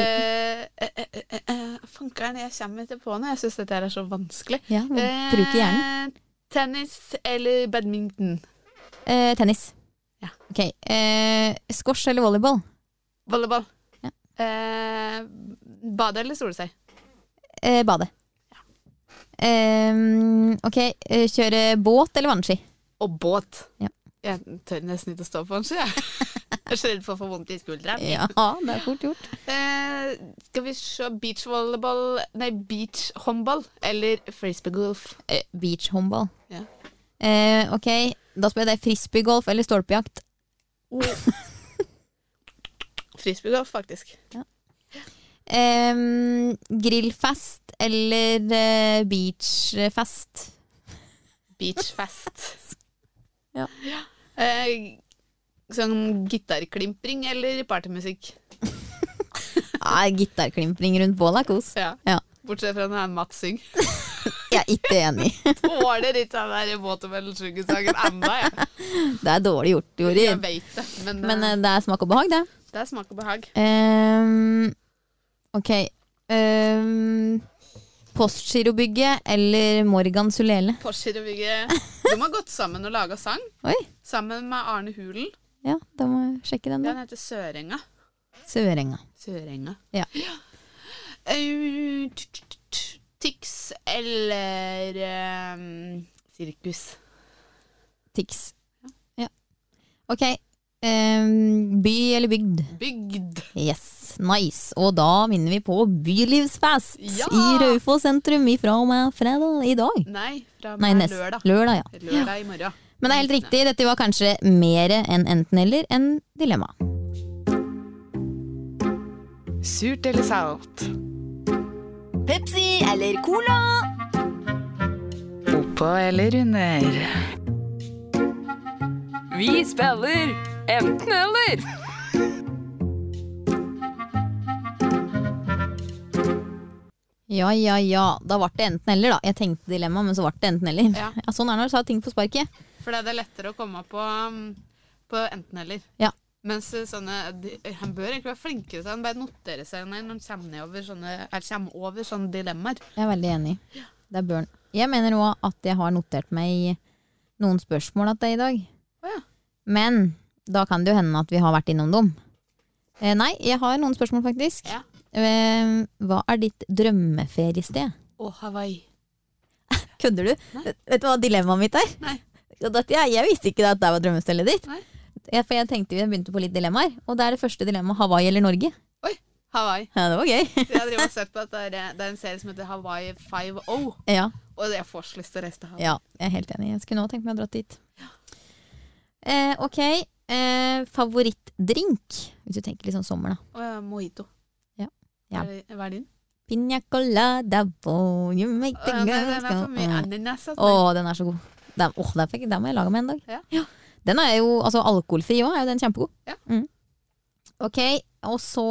eh, eh, eh, eh, Fankeren, jeg kommer ikke på noe. Jeg syns dette her er så vanskelig.
Ja, Bruker Mm, hjernen.
Eh, Tennis eller badminton?
Eh, tennis.
Ja.
Ok, eh, Squash eller volleyball?
Volleyball.
Ja.
Eh, bade eller sole seg?
Eh, bade. Eh, ok, eh, kjøre båt eller vannski?
Og båt.
Ja.
Jeg tør nesten ikke å stå på den, så jeg jeg er så redd for å få vondt i skulderen.
Ja, det er fort gjort.
Eh, skal vi se beachvolleyball Nei, beachhåndball eller frisbeegolf.
Eh, Beachhåndball.
Ja.
Eh, ok, da spør jeg deg frisbeegolf eller stolpejakt.
Frisbeegolf, faktisk.
Eh, grillfest eller eh, beachfest?
Beachfest.
Ja.
Eh, sånn gitarklimpring eller partymusikk.
Nei, gitarklimpring rundt bålet er kos.
Ja.
Ja,
Bortsett fra når han Mats synger.
jeg er ikke enig.
Tåler ikke den sånn der våtemellomsugesangen ennå, jeg.
Det er dårlig gjort,
Jeg
Jorid.
veit det, men,
Men
eh,
eh, det er smak og behag, det.
det er smak og behag.
Ehm, ok. Um, Postgirobygget eller Morgan Sulele?
Porsgirobygget De har gått sammen og laga sang.
Oi,
Sammen med Arne Hulen.
ja, da må jeg sjekke den.
Den
da.
heter Sørenga.
Sørenga.
Sørenga.
Ja.
Eh, t- t- t- Tix eller eh, sirkus.
Tix. Ja. Ok. ehm, by eller bygd?
Bygd.
Yes, nice. Og da minner vi på Bylivsfest
Ja!
i Raufoss sentrum ifra og med fredag i dag.
Nei, fra og
Nei,
med
nest,
lørdag.
lørdag ja.
Lørdag i morgen.
Men det er helt riktig, dette var kanskje mer enn enten-eller enn dilemma.
Surt eller salt?
Pepsi eller Cola?
Oppå eller under?
Vi spiller enten eller.
Ja, ja, ja. Da ble det enten-eller, da. Jeg tenkte dilemma, men så ble det enten-eller. Ja.
Ja.
Sånn er det når du tar ting på sparket.
For det er lettere å komme på, um, på enten-eller.
Ja.
Mens uh, sånne de- Han bør egentlig være flinkere til å bare notere seg når han kommer, ned over sånne, eller kommer over sånne dilemmaer.
Jeg er veldig enig. Det er børn. Jeg mener òg at jeg har notert meg noen spørsmål at det er i dag.
Å ja.
Men da kan det jo hende at vi har vært innom dem. Eh, nei, jeg har noen spørsmål, faktisk.
Ja.
Eh, hva er ditt drømmeferiested?
Og Hawaii.
Kødder du?
Nei.
Vet du hva dilemmaet mitt er?
Nei.
Og dette- Jeg, jeg visste ikke at det var drømmestedet ditt.
Nei.
Jeg, for jeg tenkte vi begynte på litt dilemmaer, og det er det første dilemmaet Hawaii eller Norge.
Hawaii.
Ja, det var gøy.
Jeg driver og sett på at det er, det er en serie som heter Hawaii 5-0,
Ja,
og jeg får så lyst til å reise til Hawaii.
ja, jeg er helt enig. Jeg skulle nå tenkt meg å dra dit. Eh, ok, eh, favorittdrink? Hvis du tenker litt sånn sommer, da.
Og ja, mojito.
Ja. Ja.
Er det- Hva er din?
Piña colada, boy, you make the
Å, ja, nei,
girls
den er for mye
go-
ananas. at
Å, den er så god. Den, åh, den, fikk, den må jeg lage med en dag.
Ja.
Den er jo, altså Alkoholfri òg er jo den kjempegod.
Ja.
Mm. Ok, og så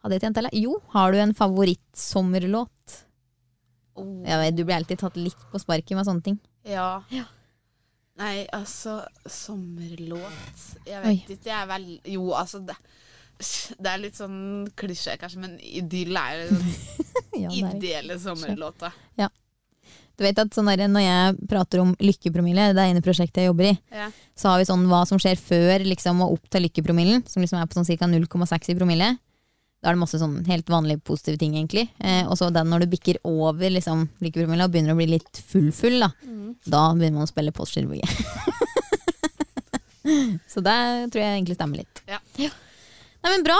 Hadde jeg tjent eller? Jo, har du en favorittsommerlåt?
man- Å,
Jeg vet, Du blir alltid tatt litt på sparket med sånne ting.
Oh, Ja. Nei, altså Sommerlåt Jeg
Oi.
vet ikke, jeg er vel Jo, altså det, det er litt sånn klisjé, kanskje, men idyll er jo den
Ja, det er-
ideelle sommerlåta.
Du vet at sånn der, Når jeg prater om lykkepromille, det er ene prosjektet jeg jobber i,
Ja.
så har vi sånn hva som skjer før liksom, og opp til lykkepromillen, som liksom er på sånn ca. 0,6 i promille. Da er det masse sånn helt vanlige positive ting, egentlig. Eh, og så den når du bikker over liksom, lykkepromilla og begynner å bli litt full-full, da, da begynner man å spille postgirobygge. så det tror jeg egentlig stemmer litt.
Ja.
Nei, men bra.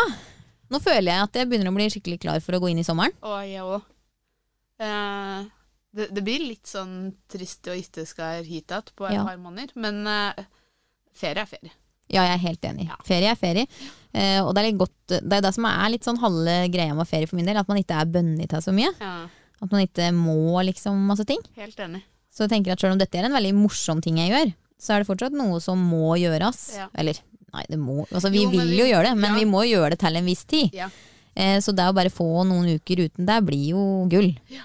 Nå føler jeg at jeg begynner å bli skikkelig klar for å gå inn i sommeren.
Og jeg òg. Eh, det, det blir litt sånn trist og ikke skal hit igjen på et
Ja.
par måneder, men eh, ferie er ferie.
Ja, jeg er helt enig.
Ja.
Ferie er ferie. Eh, og det er litt godt Det er det som er litt sånn halve greia med ferie for min del, at man ikke er bønnet av så mye.
Ja,
At man ikke må liksom masse ting.
helt enig.
Så jeg tenker at selv om dette er en veldig morsom ting jeg gjør, så er det fortsatt noe som må gjøres.
Ja.
Eller nei, det må Altså vi
Jo, men
vil
vi-
jo gjøre det, men
ja.
vi må gjøre det til en viss tid.
Ja.
Eh, så det å bare få noen uker uten det blir jo gull.
Det,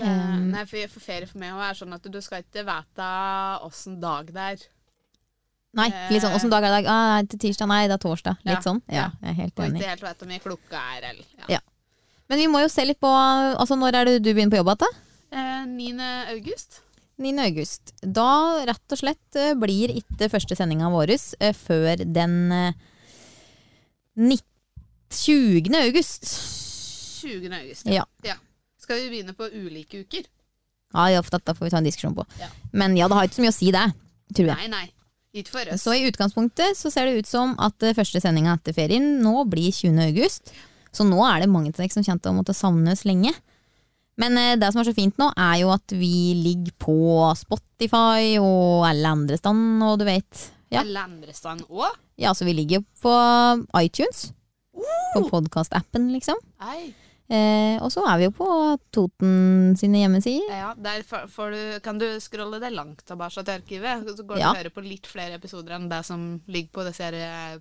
Um,
nei, for, for ferie for meg også er sånn at du skal ikke vite åssen dag det er.
Nei, litt sånn åssen dag er det i dag? Ah, det er tirsdag, nei, det er torsdag.
Eh. Ja.
Litt sånn. Ja,
Ja.
jeg er helt
Og
enig.
ikke helt vet hvor mye klokka er. Eller, ja.
Ja. Men vi må jo se litt på Altså når er det du begynner på jobb igjen, da?
Eh, 9. august.
9. august. Da rett og slett eh, blir ikke første sendinga vår eh, før den eh, 19 20. august.
20. august.
Ja.
Skal vi begynne på ulike uker?
Ja, ja, for dette får vi ta en diskusjon på.
Ja.
Men ja, det har ikke så mye å si det, tror jeg.
Nei, nei. Ikke for oss.
Så i utgangspunktet så ser det ut som at eh, første sendinga etter ferien nå blir 20. august. Så nå er det mange av dere som kommer til å måtte savne oss lenge. Men eh, det som er så fint nå, er jo at vi ligger på Spotify og alle andre stand, og du vet. Ja,
Alle andre stand òg?
ja så vi ligger jo på iTunes. På podkastappen, liksom.
Nei.
Eh, og så er vi jo på Toten sine hjemmesider.
Ja, der får- får du, kan du scrolle deg langt tilbake til arkivet. Så går du
Ja.
og hører på litt flere episoder enn det som ligger på disse eh,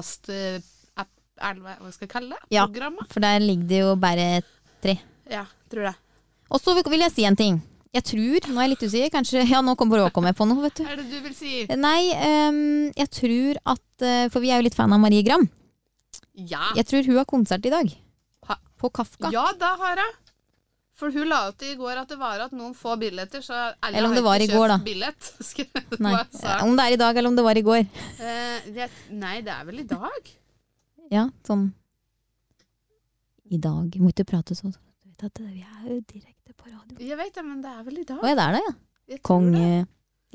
podkast-app... Hva skal jeg kalle eh, det?
Ja.
Programmet?
For der ligger det jo bare tre.
Ja, tror det.
Og så vil jeg si en ting. Jeg tror, nå er jeg litt usikker, kanskje Ja, nå kommer Håkon med på noe, vet du.
Hva er det du vil si?
Nei, ehm, jeg tror at eh, For vi er jo litt fan av Marie Gram.
Ja.
Jeg tror hun har konsert i dag.
Ha-
På Kafka.
Ja, da har jeg. For hun la ut i går at det var at noen få billetter, så alle
Eller om
har
det var
ikke
i går,
kjøpt
da.
billett. Skal jeg-
Nei.
hva sa
eh,
jeg?
Om det er i dag eller om det var i går.
Eh, det, nei, det er vel i dag?
Ja, sånn I dag. Må ikke prate sånn. Du vet at Vi er jo direkte på radio.
Jeg vet det, men det er vel i dag.
Å ja, det er det, ja.
Jeg tror det.
Konge.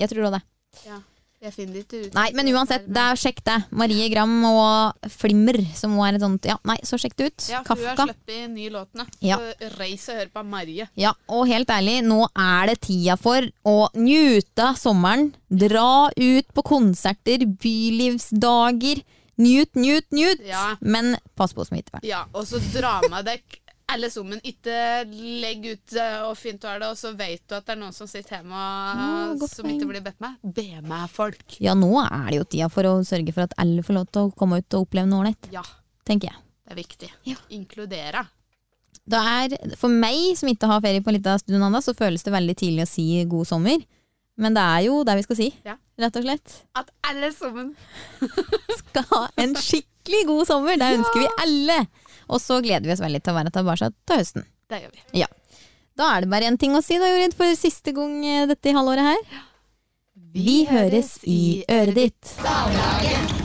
Jeg tror også det.
Jeg finner det ikke ut.
Nei, men uansett, det er sjekk det. Marie Gram og Flimmer, som hun er et sånt Ja, nei, så sjekk det ut.
Ja, for hun har
Kafka.
sluppet ny låt nå.
Ja.
Så reis og hør på Marie.
Ja, og helt ærlig, nå er det tida for å njute av sommeren. Dra ut på konserter, bylivsdager. Njut, njut, njut.
Ja.
Men pass på smittevern.
Ja, og så dra med deg alle sammen. Ikke legg ut eh, og fint var det, og så vet du at det er noen som sitter hjemme
Ja,
og,
godt
som
poeng.
ikke blir bedt med. Be med folk.
Ja, nå er det jo tida for å sørge for at alle får lov til å komme ut og oppleve noe ålreit,
Ja,
tenker jeg.
det er viktig.
Ja.
Inkludere.
Det er, for meg som ikke har ferie på en liten stund ennå, så føles det veldig tidlig å si god sommer. Men det er jo det vi skal si,
Ja.
rett og slett.
At alle sammen
Skal ha en skikkelig god sommer, det ønsker vi alle. Og så gleder vi oss veldig til å være tilbake til høsten.
Det gjør vi.
Da er det bare én ting å si, da, Jorid, for siste gang eh, dette i halvåret her. Vi høres i øret ditt.
Hverdagen.